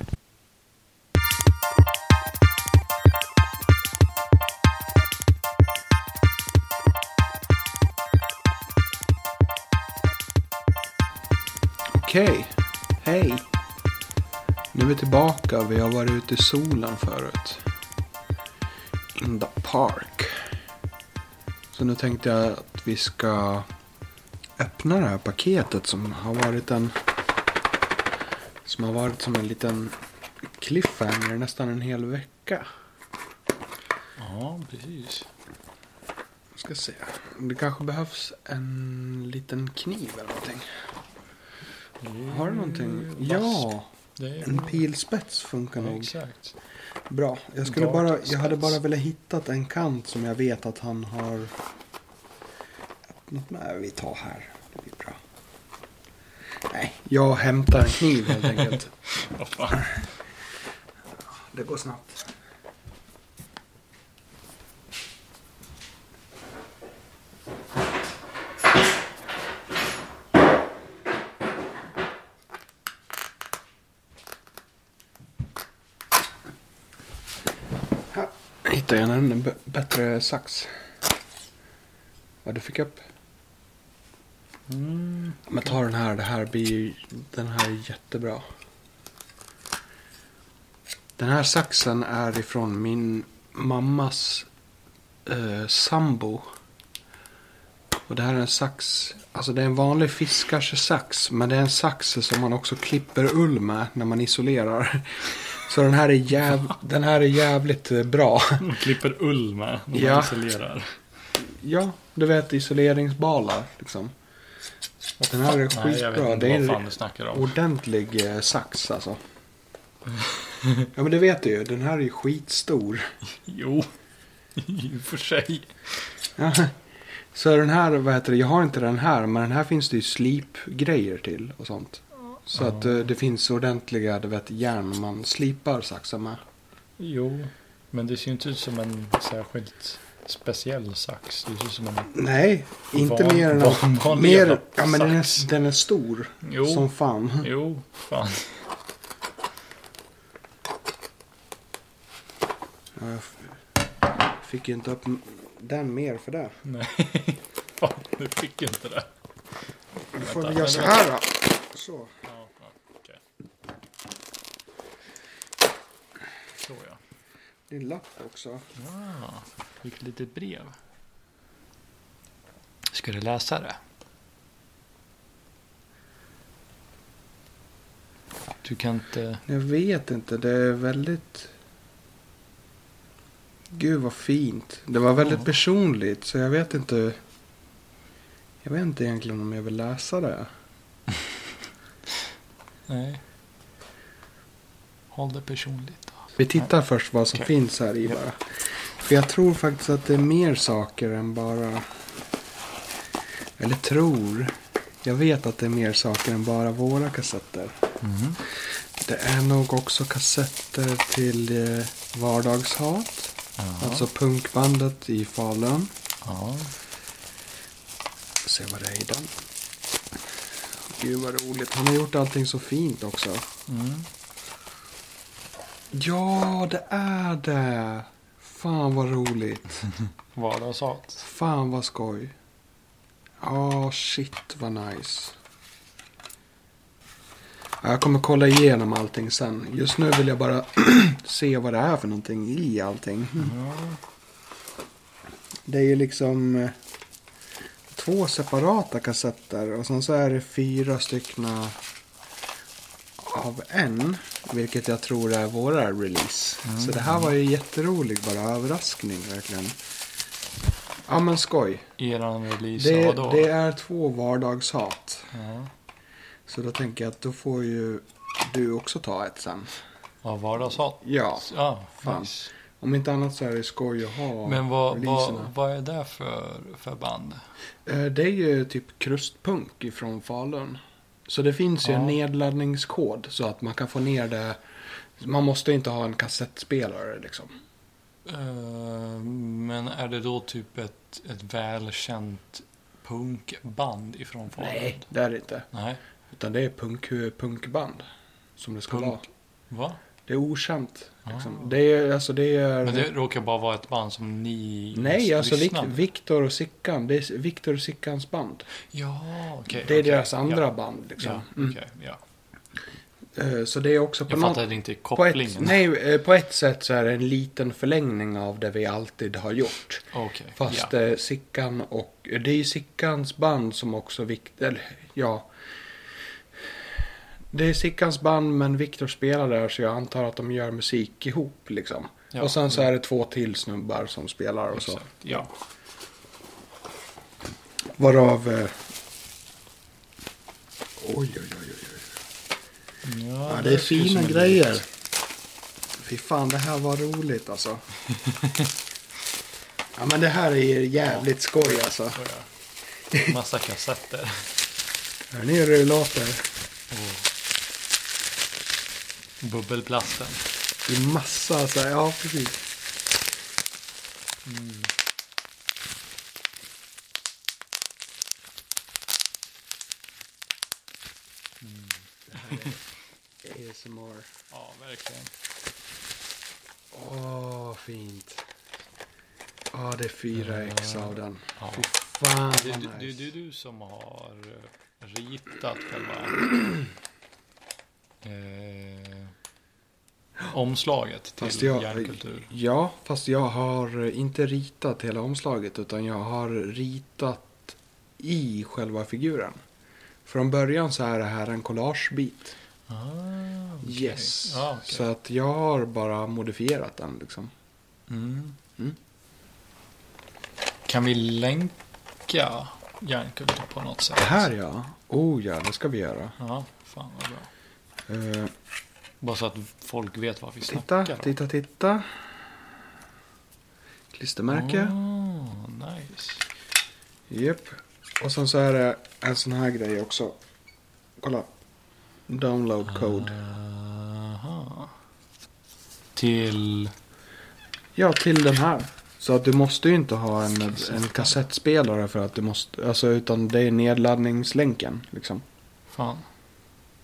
S1: Okej, hej. Nu är vi tillbaka. Vi har varit ute i solen förut. In the park. Så nu tänkte jag att vi ska öppna det här paketet som har varit en... Som har varit som en liten cliffhanger nästan en hel vecka.
S3: Ja, precis.
S1: Ska se. Det kanske behövs en liten kniv eller någonting. Har du någonting?
S3: Vass.
S1: Ja,
S3: Det är
S1: en pilspets funkar
S3: Ja,
S1: nog.
S3: exakt.
S1: Bra. Jag, skulle
S3: Dart
S1: bara, jag hade
S3: spets.
S1: bara velat hittat en kant som jag vet att han har öppnat med. Vi tar här. Det blir bra. Nej, jag hämtar en kniv helt enkelt.
S3: Vad fan.
S1: Det går snabbt. Här Hittade jag en b- bättre sax. Vad du fick upp?
S3: Mm.
S1: Men ta den här, det här blir ju, den här är jättebra. Den här saxen är ifrån min mammas eh, sambo. Och det här är en sax, alltså det är en vanlig fiskars sax. Men det är en sax som man också klipper ull med när man isolerar. <laughs> Så den här är, jäv, den här är jävligt eh, bra. <laughs>
S3: Man klipper ull med när man
S1: Ja.
S3: isolerar.
S1: Ja, du vet isoleringsbalar liksom. Den här är skitbra.
S3: Nej, jag vet
S1: det
S3: inte
S1: är
S3: vad fan du snackar om.
S1: Ordentlig eh, sax
S3: <laughs>
S1: alltså. Ja men det vet du ju, den här är ju skitstor.
S3: Jo, <laughs> i och för sig.
S1: Ja. Så den här, vad heter det, jag har inte den här men den här finns det ju slipgrejer till och sånt. Så att eh, det finns ordentliga, du vet, järn man slipar saxar med.
S3: Jo, men det ser ju inte ut som en särskilt speciell sax. Det ser ut som en...
S1: Nej, inte
S3: Van-
S1: mer än
S3: van- vanlig
S1: mer,
S3: jävla
S1: Ja men den är,
S3: sax.
S1: den är stor.
S3: Jo,
S1: Som fan.
S3: jo, fan. <laughs>
S1: Ja, jag f- fick ju inte upp m- den mer för det.
S3: Nej, fan, du fick inte det.
S1: Då får vi göra
S3: Vänta, vänta,
S1: så här då. Så.
S3: Ja, ja, okej. Så ja.
S1: Det är en lapp också.
S3: Ah, fick ett litet brev. Ska du läsa det? Du kan inte...
S1: Jag vet inte, det är väldigt... Gud vad fint. Det var väldigt
S3: Ja.
S1: personligt så jag vet inte... Jag vet inte egentligen om jag vill läsa det.
S3: Nej. Håll det personligt då.
S1: Vi tittar först vad som
S3: Okej.
S1: finns här i bara. För jag tror faktiskt att det är mer saker än bara... Eller tror. Jag vet att det är mer saker än bara våra kassetter.
S3: Mm.
S1: Det är nog också kassetter till eh, Vardagshat.
S3: Ja.
S1: Alltså punkbandet i Falun.
S3: ja.
S1: Se vad det är i den. Gud vad roligt. Han har gjort allting så fint också.
S3: Mm.
S1: Ja, det är det. Fan vad roligt.
S3: Vardagshat.
S1: Fan vad skoj. Ja, shit vad nice. Ja, Jag kommer kolla igenom allting sen. Just nu vill jag bara <clears throat> se vad det är för någonting i allting.
S3: Ja.
S1: Det är ju liksom eh, två separata kassetter och sen så är det fyra styckna av en. Vilket jag tror är våra release.
S3: Mm.
S1: Så det här var ju jätterolig bara överraskning verkligen. Ja men skoj.
S3: Eran release
S1: Det,
S3: vadå?
S1: det är två vardagshat.
S3: Ja.
S1: Så då tänker jag att då får ju du också ta ett sen.
S3: Ja, vardagshat.
S1: Ja,
S3: Ja,
S1: Fan.
S3: nice.
S1: om inte annat så är det skoj att ha
S3: Men vad, vad,
S1: releaserna.
S3: vad är det för, för band?
S1: Eh, Det är ju typ krustpunk ifrån Falun. Så det finns ju en
S3: Ja.
S1: nedladdningskod så att man kan få ner det. Man måste inte ha en kassettspelare liksom.
S3: Eh, men är det då typ ett, ett välkänt punkband ifrån Falun?
S1: Det är det inte.
S3: Nej.
S1: Utan det är punk, punkband. Som det ska
S3: Punk.
S1: vara.
S3: Va?
S1: Det är okänt. Liksom.
S3: Ah.
S1: Det är, alltså det är...
S3: Men det råkar bara vara ett band som ni
S1: Nej, alltså Vic-
S3: lyssnar
S1: Viktor och Sickan. Det är Viktor och Sickans band.
S3: Ja, okej.
S1: det är
S3: okej.
S1: deras andra
S3: ja.
S1: band. Liksom.
S3: Ja,
S1: Mm.
S3: okej, ja.
S1: Eh, Så det är också på
S3: Jag
S1: något...
S3: fattade inte
S1: På
S3: <laughs>
S1: ett,
S3: kopplingen.
S1: nej, eh, på ett sätt så är det en liten förlängning av det vi alltid har gjort.
S3: Okej,
S1: Fast
S3: ja.
S1: eh, Sickan och... eh, Det är ju Sickans band som också Viktor... Eller, ja. Det är Sickans band men Viktor spelar där så jag antar att de gör musik ihop liksom.
S3: Ja,
S1: och sen så är det två till snubbar som spelar och så.
S3: Exakt, ja.
S1: Varav... Eh, oj, oj, oj, oj. Ja, det är fina grejer. Fy fan, det här var roligt <laughs> alltså. ja, men det här är jävligt skoj alltså.
S3: Massa kassetter. <laughs>
S1: Hör ni hur det låter?
S3: Bubbelplasten.
S1: Det är massa så här, ja precis. Mm. Det Mm. här är ASMR.
S3: Ja, verkligen.
S1: Åh, fint. Ja, det är 4x av den.
S3: Eh, Ja.
S1: Fy fan
S3: Det
S1: vad
S3: är du,
S1: nice.
S3: du, du som har eh, ritat själva eh, omslaget
S1: Fast
S3: till
S1: jag-
S3: järnkultur.
S1: Ja, fast jag har eh, inte ritat hela omslaget utan jag har ritat i själva figuren. Från början så är det här en collagebit.
S3: Ah, okej.
S1: Yes.
S3: Ja, okej.
S1: Så att jag har bara modifierat den liksom.
S3: Mm.
S1: Mm.
S3: Kan vi länka järnkultur på något sätt?
S1: Det här ja. Oh ja, det ska vi göra.
S3: Ja, fan vad bra.
S1: Eh,
S3: Bara så att folk vet vad vi
S1: titta,
S3: snackar om.
S1: titta, titta. Klistermärke.
S3: Ah, nice.
S1: Japp. Och sen så är det en sån här grej också. Kolla. Download code.
S3: Aha. Till...
S1: Ja, till den här. Så att du måste ju inte ha en, en kassettspelare för att du måste, alltså utan det är nedladdningslänken liksom.
S3: Fan.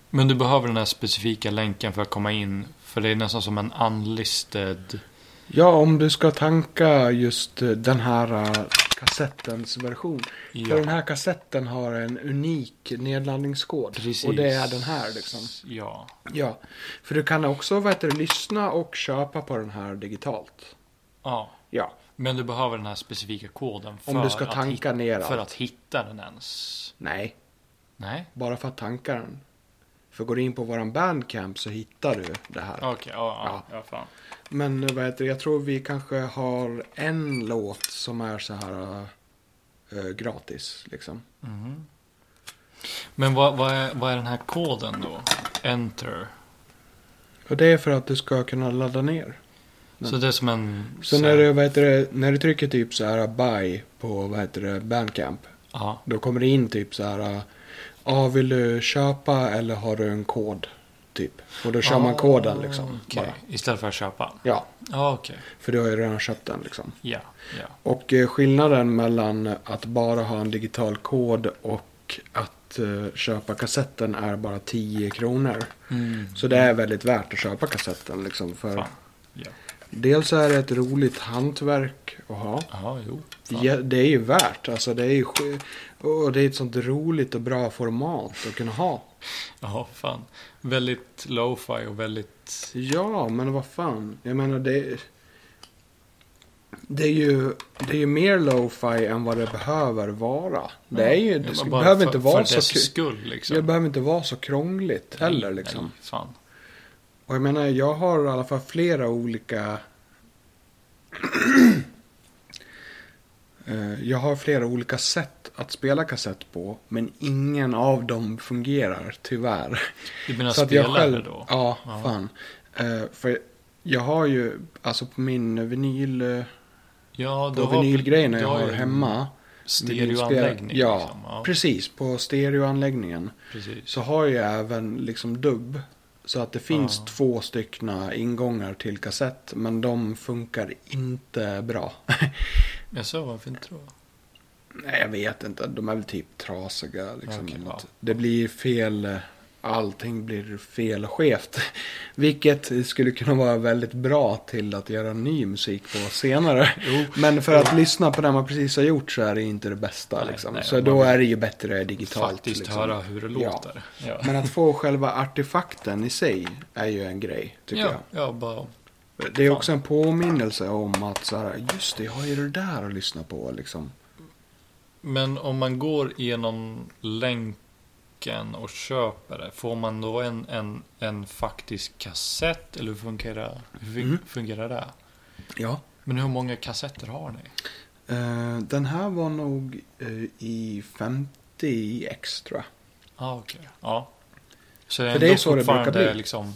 S3: Men du behöver den här specifika länken för att komma in. För det är nästan som en unlisted...
S1: Ja, om du ska tanka just eh, den här eh, kassettens version. För den
S3: Ja,
S1: här kassetten har en unik nedladdningskod.
S3: precis.
S1: Och det är den här liksom.
S3: Ja.
S1: Ja, för du kan också vad heter, det, lyssna och köpa på den här digitalt.
S3: ja.
S1: Ja,
S3: Men du behöver den här specifika koden för,
S1: om du ska
S3: att, hitta,
S1: tanka ner
S3: för
S1: allt.
S3: att hitta den ens.
S1: Nej,
S3: Nej?
S1: bara för att tanka den. För går du in på våran bandcamp så hittar du det här.
S3: Okej, ja, ja. Ja, fan.
S1: Men eh, vad heter det, jag tror vi kanske har en låt som är så här eh, gratis liksom.
S3: Mhm. Men vad, vad, är, vad är den här koden då? Enter.
S1: Och det är för att du ska kunna ladda ner.
S3: Så det är som en...
S1: Så när du, vad heter det, när du trycker typ så här buy på vad heter det, bandcamp.
S3: Ja,
S1: Då kommer det in typ så här. eh, Ja, vill du köpa eller har du en kod? Typ. Och då kör man koden liksom.
S3: Ah, okej.
S1: Bara.
S3: Istället för att köpa.
S1: Ja,
S3: Ja, okej.
S1: för du har ju redan köpt den liksom.
S3: Ja, ja.
S1: Och eh, skillnaden mellan att bara ha en digital kod och att eh, köpa kassetten är bara 10 kronor.
S3: Mm.
S1: Så det är väldigt värt att köpa kassetten. Liksom, för
S3: Fan. Ja.
S1: dels så är det ett roligt hantverk att ha.
S3: Ja, jo. Fan.
S1: Ja, det är ju värt. Alltså, det, är ju, sk- och det är ett sånt roligt och bra format att kunna ha.
S3: Ja, fan. Väldigt lo-fi och väldigt...
S1: Ja, men vad fan. Jag menar det... Det är ju, det är ju mer lo-fi än vad det behöver vara. Det, är ju, det
S3: Ja,
S1: ska,
S3: bara
S1: behöver
S3: för-
S1: inte vara
S3: För dess
S1: så kul.
S3: skull liksom.
S1: Det behöver inte vara så krångligt heller
S3: Nej,
S1: liksom.
S3: nej, Fan.
S1: Och jag menar, jag har i alla fall flera olika... <clears throat> Eh, jag har flera olika sätt att spela kassett på. Men ingen av dem fungerar, tyvärr.
S3: Du menar
S1: Så att jag
S3: spelare
S1: själv,
S3: då?
S1: ja,
S3: Ja.
S1: fan. Eh, för jag har ju, alltså på min vinyl, eh,
S3: Ja, du
S1: på
S3: har,
S1: vinylgrejen jag
S3: du
S1: har
S3: ju
S1: hemma.
S3: Stereoanläggning.
S1: Ja,
S3: liksom. ja
S1: precis. På stereoanläggningen
S3: precis.
S1: så har jag även liksom dubb. Så att det finns
S3: Ja.
S1: två styckna ingångar till kassett, men de funkar inte
S3: <laughs>
S1: bra.
S3: Jag sa varför inte då?
S1: Nej, jag vet inte. De är väl typ trasiga. Liksom,
S3: Okej,
S1: eller något.
S3: ja.
S1: Det blir fel eh, allting blir felskevt. <laughs> Vilket skulle kunna vara väldigt bra till att göra ny musik på senare. Men för att lyssna på det man precis har gjort så är det inte det bästa.
S3: Nej,
S1: liksom.
S3: nej,
S1: så
S3: man
S1: då
S3: vill
S1: är det ju bättre digitalt.
S3: Faktiskt
S1: liksom.
S3: höra hur det
S1: Ja.
S3: låter. Ja,
S1: Men att få själva artefakten i sig är ju en grej, tycker
S3: ja, ja bara
S1: jag. Det är också en påminnelse om att så här, just det, jag har ju det där att lyssna på. Liksom.
S3: Men om man går genom länken och köper det, får man då en, en, en faktisk kassett? Eller hur fungerar, hur fun-
S1: Mm.
S3: fungerar det?
S1: Ja.
S3: Men hur många kassetter har ni?
S1: Eh, den här var nog eh, i 50 extra.
S3: Ah, okej. Ja. Så det är,
S1: För det är
S3: ändå
S1: så det brukar
S3: fortfarande
S1: bli.
S3: liksom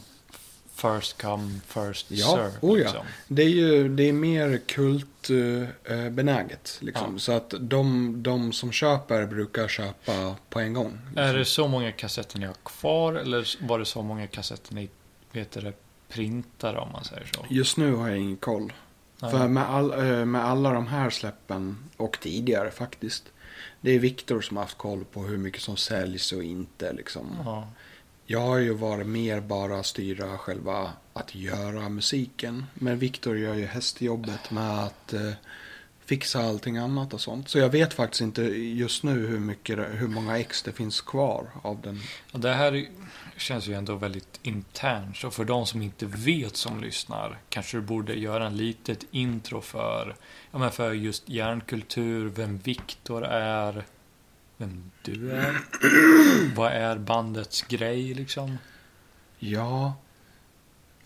S3: first come, first
S1: Ja,
S3: serve.
S1: oh ja.
S3: Liksom.
S1: Det är ju det är mer kultbenäget. liksom.
S3: Ja.
S1: Så att de, de som köper brukar köpa på en gång. Liksom.
S3: Är det så många kassetter ni har kvar? Eller var det så många kassetter ni vet det, printar om man säger så?
S1: Just nu har jag ingen koll.
S3: Nej.
S1: För med, all, eh, med alla de här släppen och tidigare faktiskt. Det är Viktor som har haft koll på hur mycket som säljs och inte. Liksom.
S3: Ja.
S1: Jag har ju varit mer bara styra själva att göra musiken. Men Viktor gör ju hästjobbet med att eh, fixa allting annat och sånt. Så jag vet faktiskt inte just nu hur, mycket, det- hur många ex det finns kvar av den.
S3: Och Det här känns ju ändå väldigt internt. Så för de som inte vet som lyssnar kanske du borde göra en litet intro för, ja, men för just järnkultur, vem Viktor är, vem
S1: <clears throat>
S3: du är. Vad är bandets grej liksom?
S1: Ja.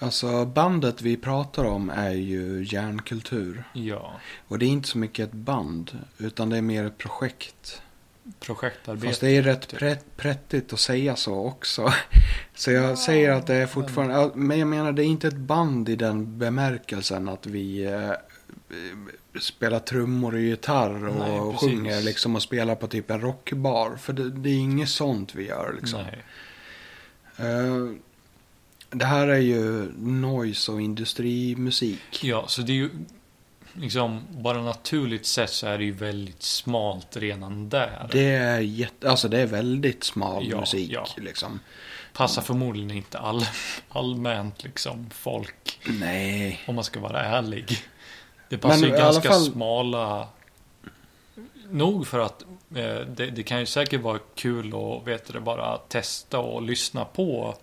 S1: Alltså bandet vi pratar om är ju järnkultur.
S3: Ja,
S1: Och det är inte så mycket ett band. Utan det är mer ett projekt. Fast
S3: projektarbete.
S1: det är rätt
S3: typ.
S1: prätt, prättigt att säga så också. <laughs> Så jag säger att det är fortfarande, ja, men jag menar det är inte ett band i den bemärkelsen att vi eh, eh, spelar trummor och gitarr och
S3: Nej, precis.
S1: sjunger liksom och spelar på typ en rockbar. För det, det är inget sånt vi gör liksom.
S3: Nej.
S1: Eh, det här är ju noise och industrimusik.
S3: Ja, så det är ju liksom bara naturligt sett så är det ju väldigt smalt redan där.
S1: Det är, jätte, alltså det är väldigt smal
S3: Ja,
S1: musik
S3: ja.
S1: liksom.
S3: Passar förmodligen inte all, allmänt liksom folk.
S1: Nej.
S3: Om man ska vara ärlig. Det passar
S1: i
S3: ju
S1: alla
S3: ganska
S1: fall-
S3: smala... Nog för att eh, det, det kan ju säkert vara kul att vet du, det, bara testa och lyssna på.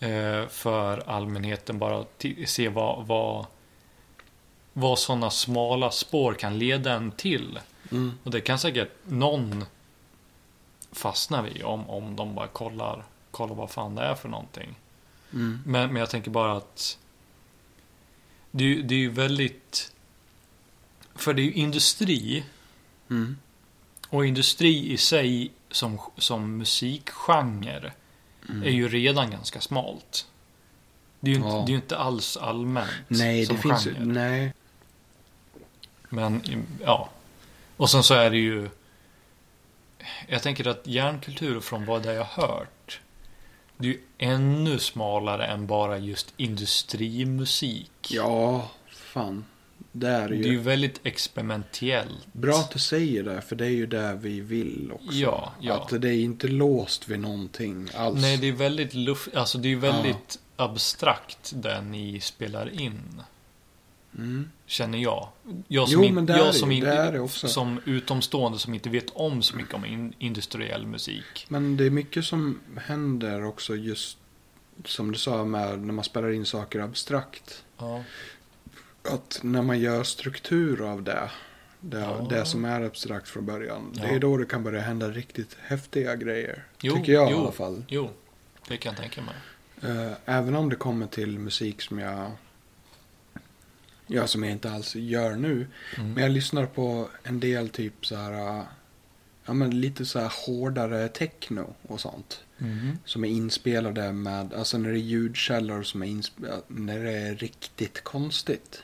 S3: Eh, för allmänheten bara ti- se vad, vad, vad sådana smala spår kan leda en till.
S1: Mm.
S3: Och det kan säkert någon fastna vid om, om de bara kollar, kollar vad fan det är för någonting.
S1: Mm.
S3: Men, men jag tänker bara att det är, ju- det är ju väldigt... För det är ju industri.
S1: Mm.
S3: Och industri i sig som, som musikgenre
S1: Mm.
S3: är ju redan ganska smalt. Det är ju,
S1: Ja.
S3: inte, det är ju inte alls allmänt
S1: Nej,
S3: som
S1: det finns ju,
S3: genre.
S1: nej.
S3: Men ja. Och sen så är det ju... Jag tänker att järnkultur från vad jag har hört. Det är ju ännu smalare än bara just industrimusik.
S1: Ja, fan. Det är
S3: Det
S1: ju.
S3: är ju väldigt experimentellt.
S1: Bra att du säger det, för det är ju det vi vill också.
S3: Ja, ja.
S1: Att det är inte låst vid någonting alls.
S3: Nej, det är väldigt luft... Alltså det är ju väldigt abstrakt det ni spelar in.
S1: mm.
S3: Känner jag. Jag
S1: Jo,
S3: som, in-
S1: men det är
S3: jag
S1: det
S3: som,
S1: ju.
S3: in-
S1: Det är det också.
S3: som utomstående som inte vet om så mycket om in- industriell musik.
S1: Men det är mycket som händer också just som du sa med när man spelar in saker abstrakt.
S3: Ja.
S1: Att när man gör struktur av det. Det,
S3: Ja.
S1: det som är abstrakt från början.
S3: Ja.
S1: Det är då det kan börja hända riktigt häftiga grejer.
S3: Jo,
S1: tycker jag
S3: jo.
S1: i alla fall.
S3: Jo, det kan jag tänka mig.
S1: Eh, även om det kommer till musik som jag, ja, som jag inte alls gör nu.
S3: Mm.
S1: Men jag lyssnar på en del typ så här, eh, ja men lite så här hårdare techno och sånt.
S3: Mhm.
S1: Som är inspelade med, alltså när det är ljudkällor som är inspelade, när det är riktigt konstigt.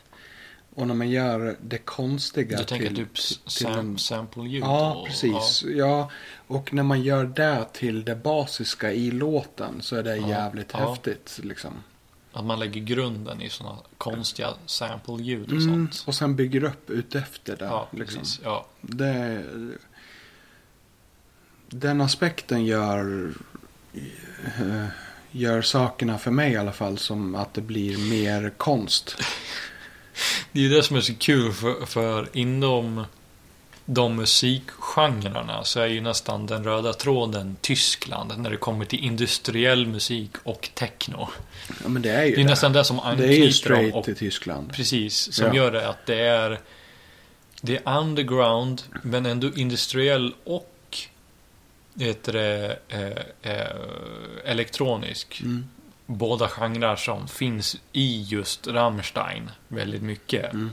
S1: Och när man gör det konstiga
S3: Du tänker
S1: till,
S3: typ s-
S1: till
S3: sam-
S1: en-
S3: sample-ljud?
S1: Ja,
S3: och-
S1: precis. Ja. och när man gör det till det basiska i låten så är det
S3: Ja,
S1: jävligt
S3: ja.
S1: häftigt liksom.
S3: Att man lägger grunden i sådana konstiga sample-ljud och
S1: Mm,
S3: sånt.
S1: och sen bygger upp utefter det.
S3: Ja,
S1: liksom.
S3: precis. Ja.
S1: det den aspekten gör eh, gör sakerna för mig i alla fall som att det blir mer konst.
S3: Det är ju det som är så kul för, för inom de musikgenrerna så är ju nästan den röda tråden Tyskland när det kommer till industriell musik och techno.
S1: Ja, men det är ju
S3: Det är nästan det som
S1: Det är ju
S3: anknyter dem
S1: straight
S3: och
S1: till Tyskland.
S3: Precis, som
S1: Ja.
S3: gör det att det är Det är underground men ändå industriell och heter det, eh, eh, elektronisk.
S1: Mm.
S3: Båda genrer som finns i just Rammstein väldigt mycket.
S1: Mm.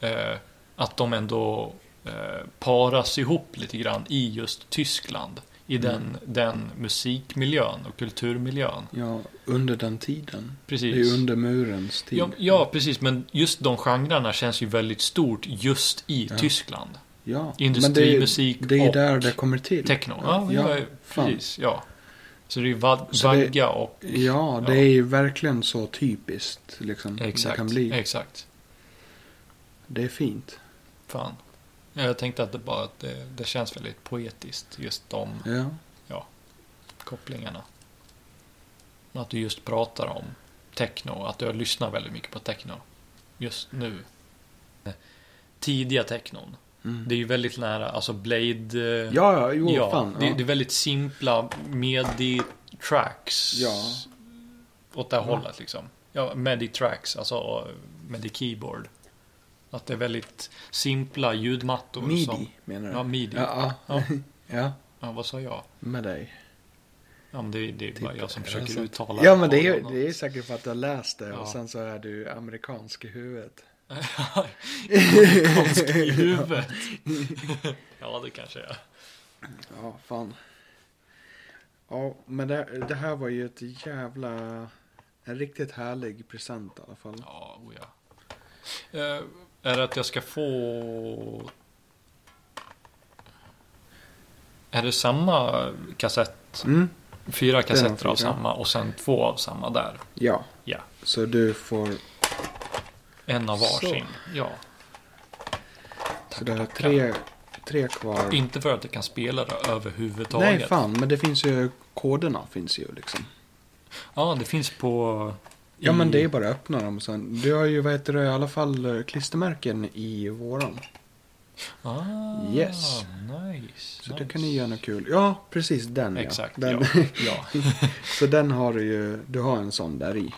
S3: Eh, att de ändå eh, paras ihop lite grann i just Tyskland. I
S1: Mm.
S3: den, den musikmiljön och kulturmiljön.
S1: Ja, under den tiden.
S3: Precis.
S1: Det är under murens tid.
S3: Ja, ja, precis. Men just de genrerna känns ju väldigt stort just i
S1: Ja.
S3: Tyskland.
S1: ja.
S3: Industrimusik
S1: men det, är- det är
S3: och
S1: där det kommer till.
S3: Techno. Ja,
S1: Ja,
S3: ja,
S1: fan.
S3: precis. Ja. Så det är ju va-
S1: Så det-
S3: vagga och...
S1: Ja, det
S3: Ja.
S1: är ju verkligen så typiskt. Liksom, Det
S3: Exakt.
S1: kan bli.
S3: Exakt.
S1: Det är fint.
S3: Fan. Ja, Jag tänkte att det bara att det, det känns väldigt poetiskt. Just de
S1: Ja.
S3: kopplingarna. Att du just pratar om techno. Att du lyssnar väldigt mycket på techno. Just nu. Tidiga technon.
S1: Mm.
S3: Det är ju väldigt nära, alltså Blade... eh,
S1: ja, ja, jo,
S3: ja,
S1: fan.
S3: Det,
S1: ja.
S3: det är väldigt simpla midi-tracks.
S1: Ja.
S3: Åt det
S1: Ja.
S3: hållet liksom. Ja, midi-tracks, alltså eh, midi-keyboard. Att det är väldigt simpla ljudmattor.
S1: Midi,
S3: Som,
S1: menar du?
S3: ja, midi. Ja.
S1: Ja, ja. ja,
S3: vad sa jag?
S1: med dig.
S3: Ja, men det, det är bara
S1: Typ,
S3: jag som
S1: eller
S3: försöker
S1: sånt.
S3: uttala.
S1: Ja, men det är,
S3: något.
S1: det är säkert för att du har läst det
S3: Ja.
S1: och sen så är du amerikansk i
S3: <laughs>
S1: huvudet.
S3: <laughs> Konst i huvudet. ja, det kanske jag är.
S1: <laughs> Ja, fan. Ja, men det, det här var ju ett jävla... En riktigt härlig present i alla fall.
S3: Ja, oh ja. Eh, är det att jag ska få... Är det samma kassett?
S1: Mm.
S3: Fyra kassetter
S1: fyra.
S3: av samma och sen två av samma där?
S1: Ja.
S3: Ja.
S1: Så du får...
S3: En av
S1: Så.
S3: varsin? Ja.
S1: så du har tre, tre kvar.
S3: Inte för att jag kan spela det överhuvudtaget.
S1: Nej, fan. Men det finns ju... Koderna finns ju liksom.
S3: Ja, det finns på...
S1: Ja,
S3: i-
S1: men det är bara att öppna dem sen. Du har ju, vad heter det, i alla fall eh, klistermärken i våran.
S3: Ah,
S1: Yes.
S3: Nice.
S1: Så
S3: nice.
S1: det kan ni göra något kul. Ja, precis den
S3: Exakt,
S1: ja. Den,
S3: ja. ja.
S1: <laughs> Så den har du ju, du har en sån där i.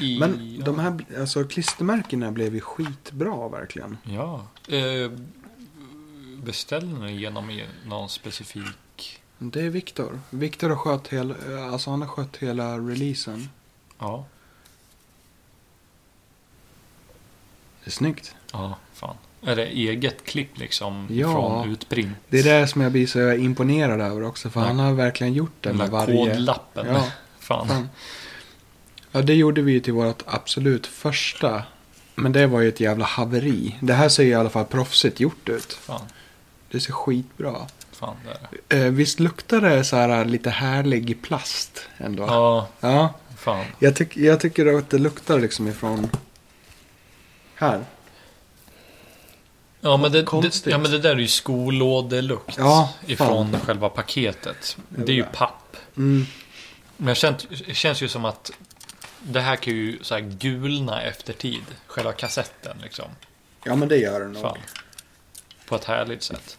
S3: I,
S1: Men
S3: ja.
S1: de här, alltså klistermärkena blev ju skitbra verkligen.
S3: Ja. Eh, beställde ni genom i någon specifik...
S1: Det är Viktor. Viktor har skött hela, alltså han har skött hela releasen.
S3: Ja.
S1: Det är snyggt.
S3: Ja, fan. Är det eget klipp liksom?
S1: Ja.
S3: Från utprint?
S1: Det är det som jag blir så imponerad över också, för
S3: Ja.
S1: han har verkligen gjort det
S3: Den där
S1: med varje...
S3: kodlappen.
S1: Ja,
S3: Fan.
S1: fan. Ja, det gjorde vi ju till vårt absolut första. Men det var ju ett jävla haveri. Det här ser ju i alla fall proffsigt gjort ut.
S3: Fan.
S1: Det ser skitbra.
S3: Fan, det är det.
S1: Eh, visst luktar det så här äh, lite härlig plast ändå?
S3: Ja,
S1: Ja,
S3: fan.
S1: jag, tyck, jag tycker att det luktar liksom ifrån här.
S3: Ja men, det, det,
S1: Konstigt.
S3: ja, men det där är ju skolådelukt.
S1: Ja, fan.
S3: ifrån själva paketet. Det är ju papp.
S1: Mm.
S3: Men det känns, det känns ju som att det här kan ju så här gulna efter tid. Själva kassetten liksom.
S1: Ja, men det gör det nog.
S3: Fan. På ett härligt sätt.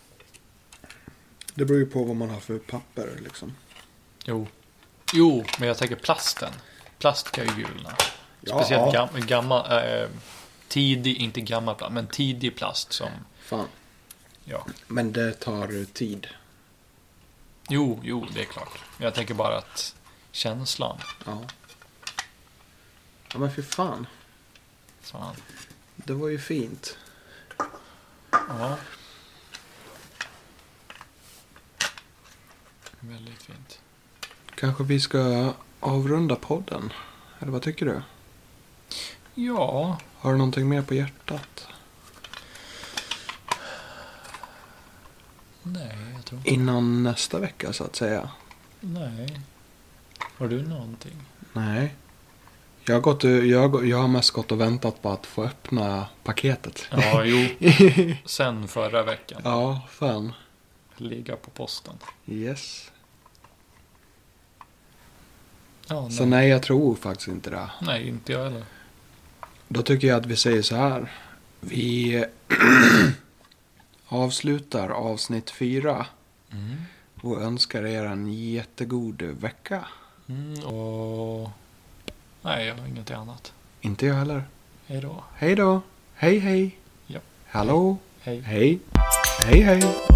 S1: Det beror ju på vad man har för papper liksom.
S3: Jo. Jo, men jag tänker plasten. Plast kan ju gulna.
S1: Ja,
S3: Speciellt
S1: ja.
S3: gam, gammal, eh, tidig, inte gammal plast, men tidig plast som,
S1: Fan.
S3: ja.
S1: Men det tar eh, tid.
S3: Jo, jo, det är klart. Men jag tänker bara att känslan,
S1: Ja. Ja, men för fan.
S3: fan.
S1: Det var ju fint.
S3: Ja. Väldigt fint.
S1: Kanske vi ska avrunda podden? Eller vad tycker du?
S3: Ja,
S1: Har du någonting mer på hjärtat?
S3: nej, jag tror inte.
S1: Innan nästa vecka så att säga.
S3: Nej. Har du någonting?
S1: Nej. Jag har, gått, jag, jag har mest gått och väntat på att få öppna paketet.
S3: Ja, <laughs> jo. Sen förra veckan.
S1: <laughs> Ja, fan.
S3: Ligga på posten.
S1: Yes.
S3: Ja, nej.
S1: Så nej, jag tror faktiskt inte det.
S3: nej, inte jag heller.
S1: Då tycker jag att vi säger så här. Vi <clears throat> avslutar avsnitt fyra
S3: Mm.
S1: och önskar er en jättegod vecka.
S3: Mm, och... Nej, jag har ingenting annat.
S1: Inte jag heller.
S3: Hej då.
S1: Hej då. Hej hej.
S3: Ja.
S1: Hallå.
S3: Hej.
S1: Hej. Hej hej.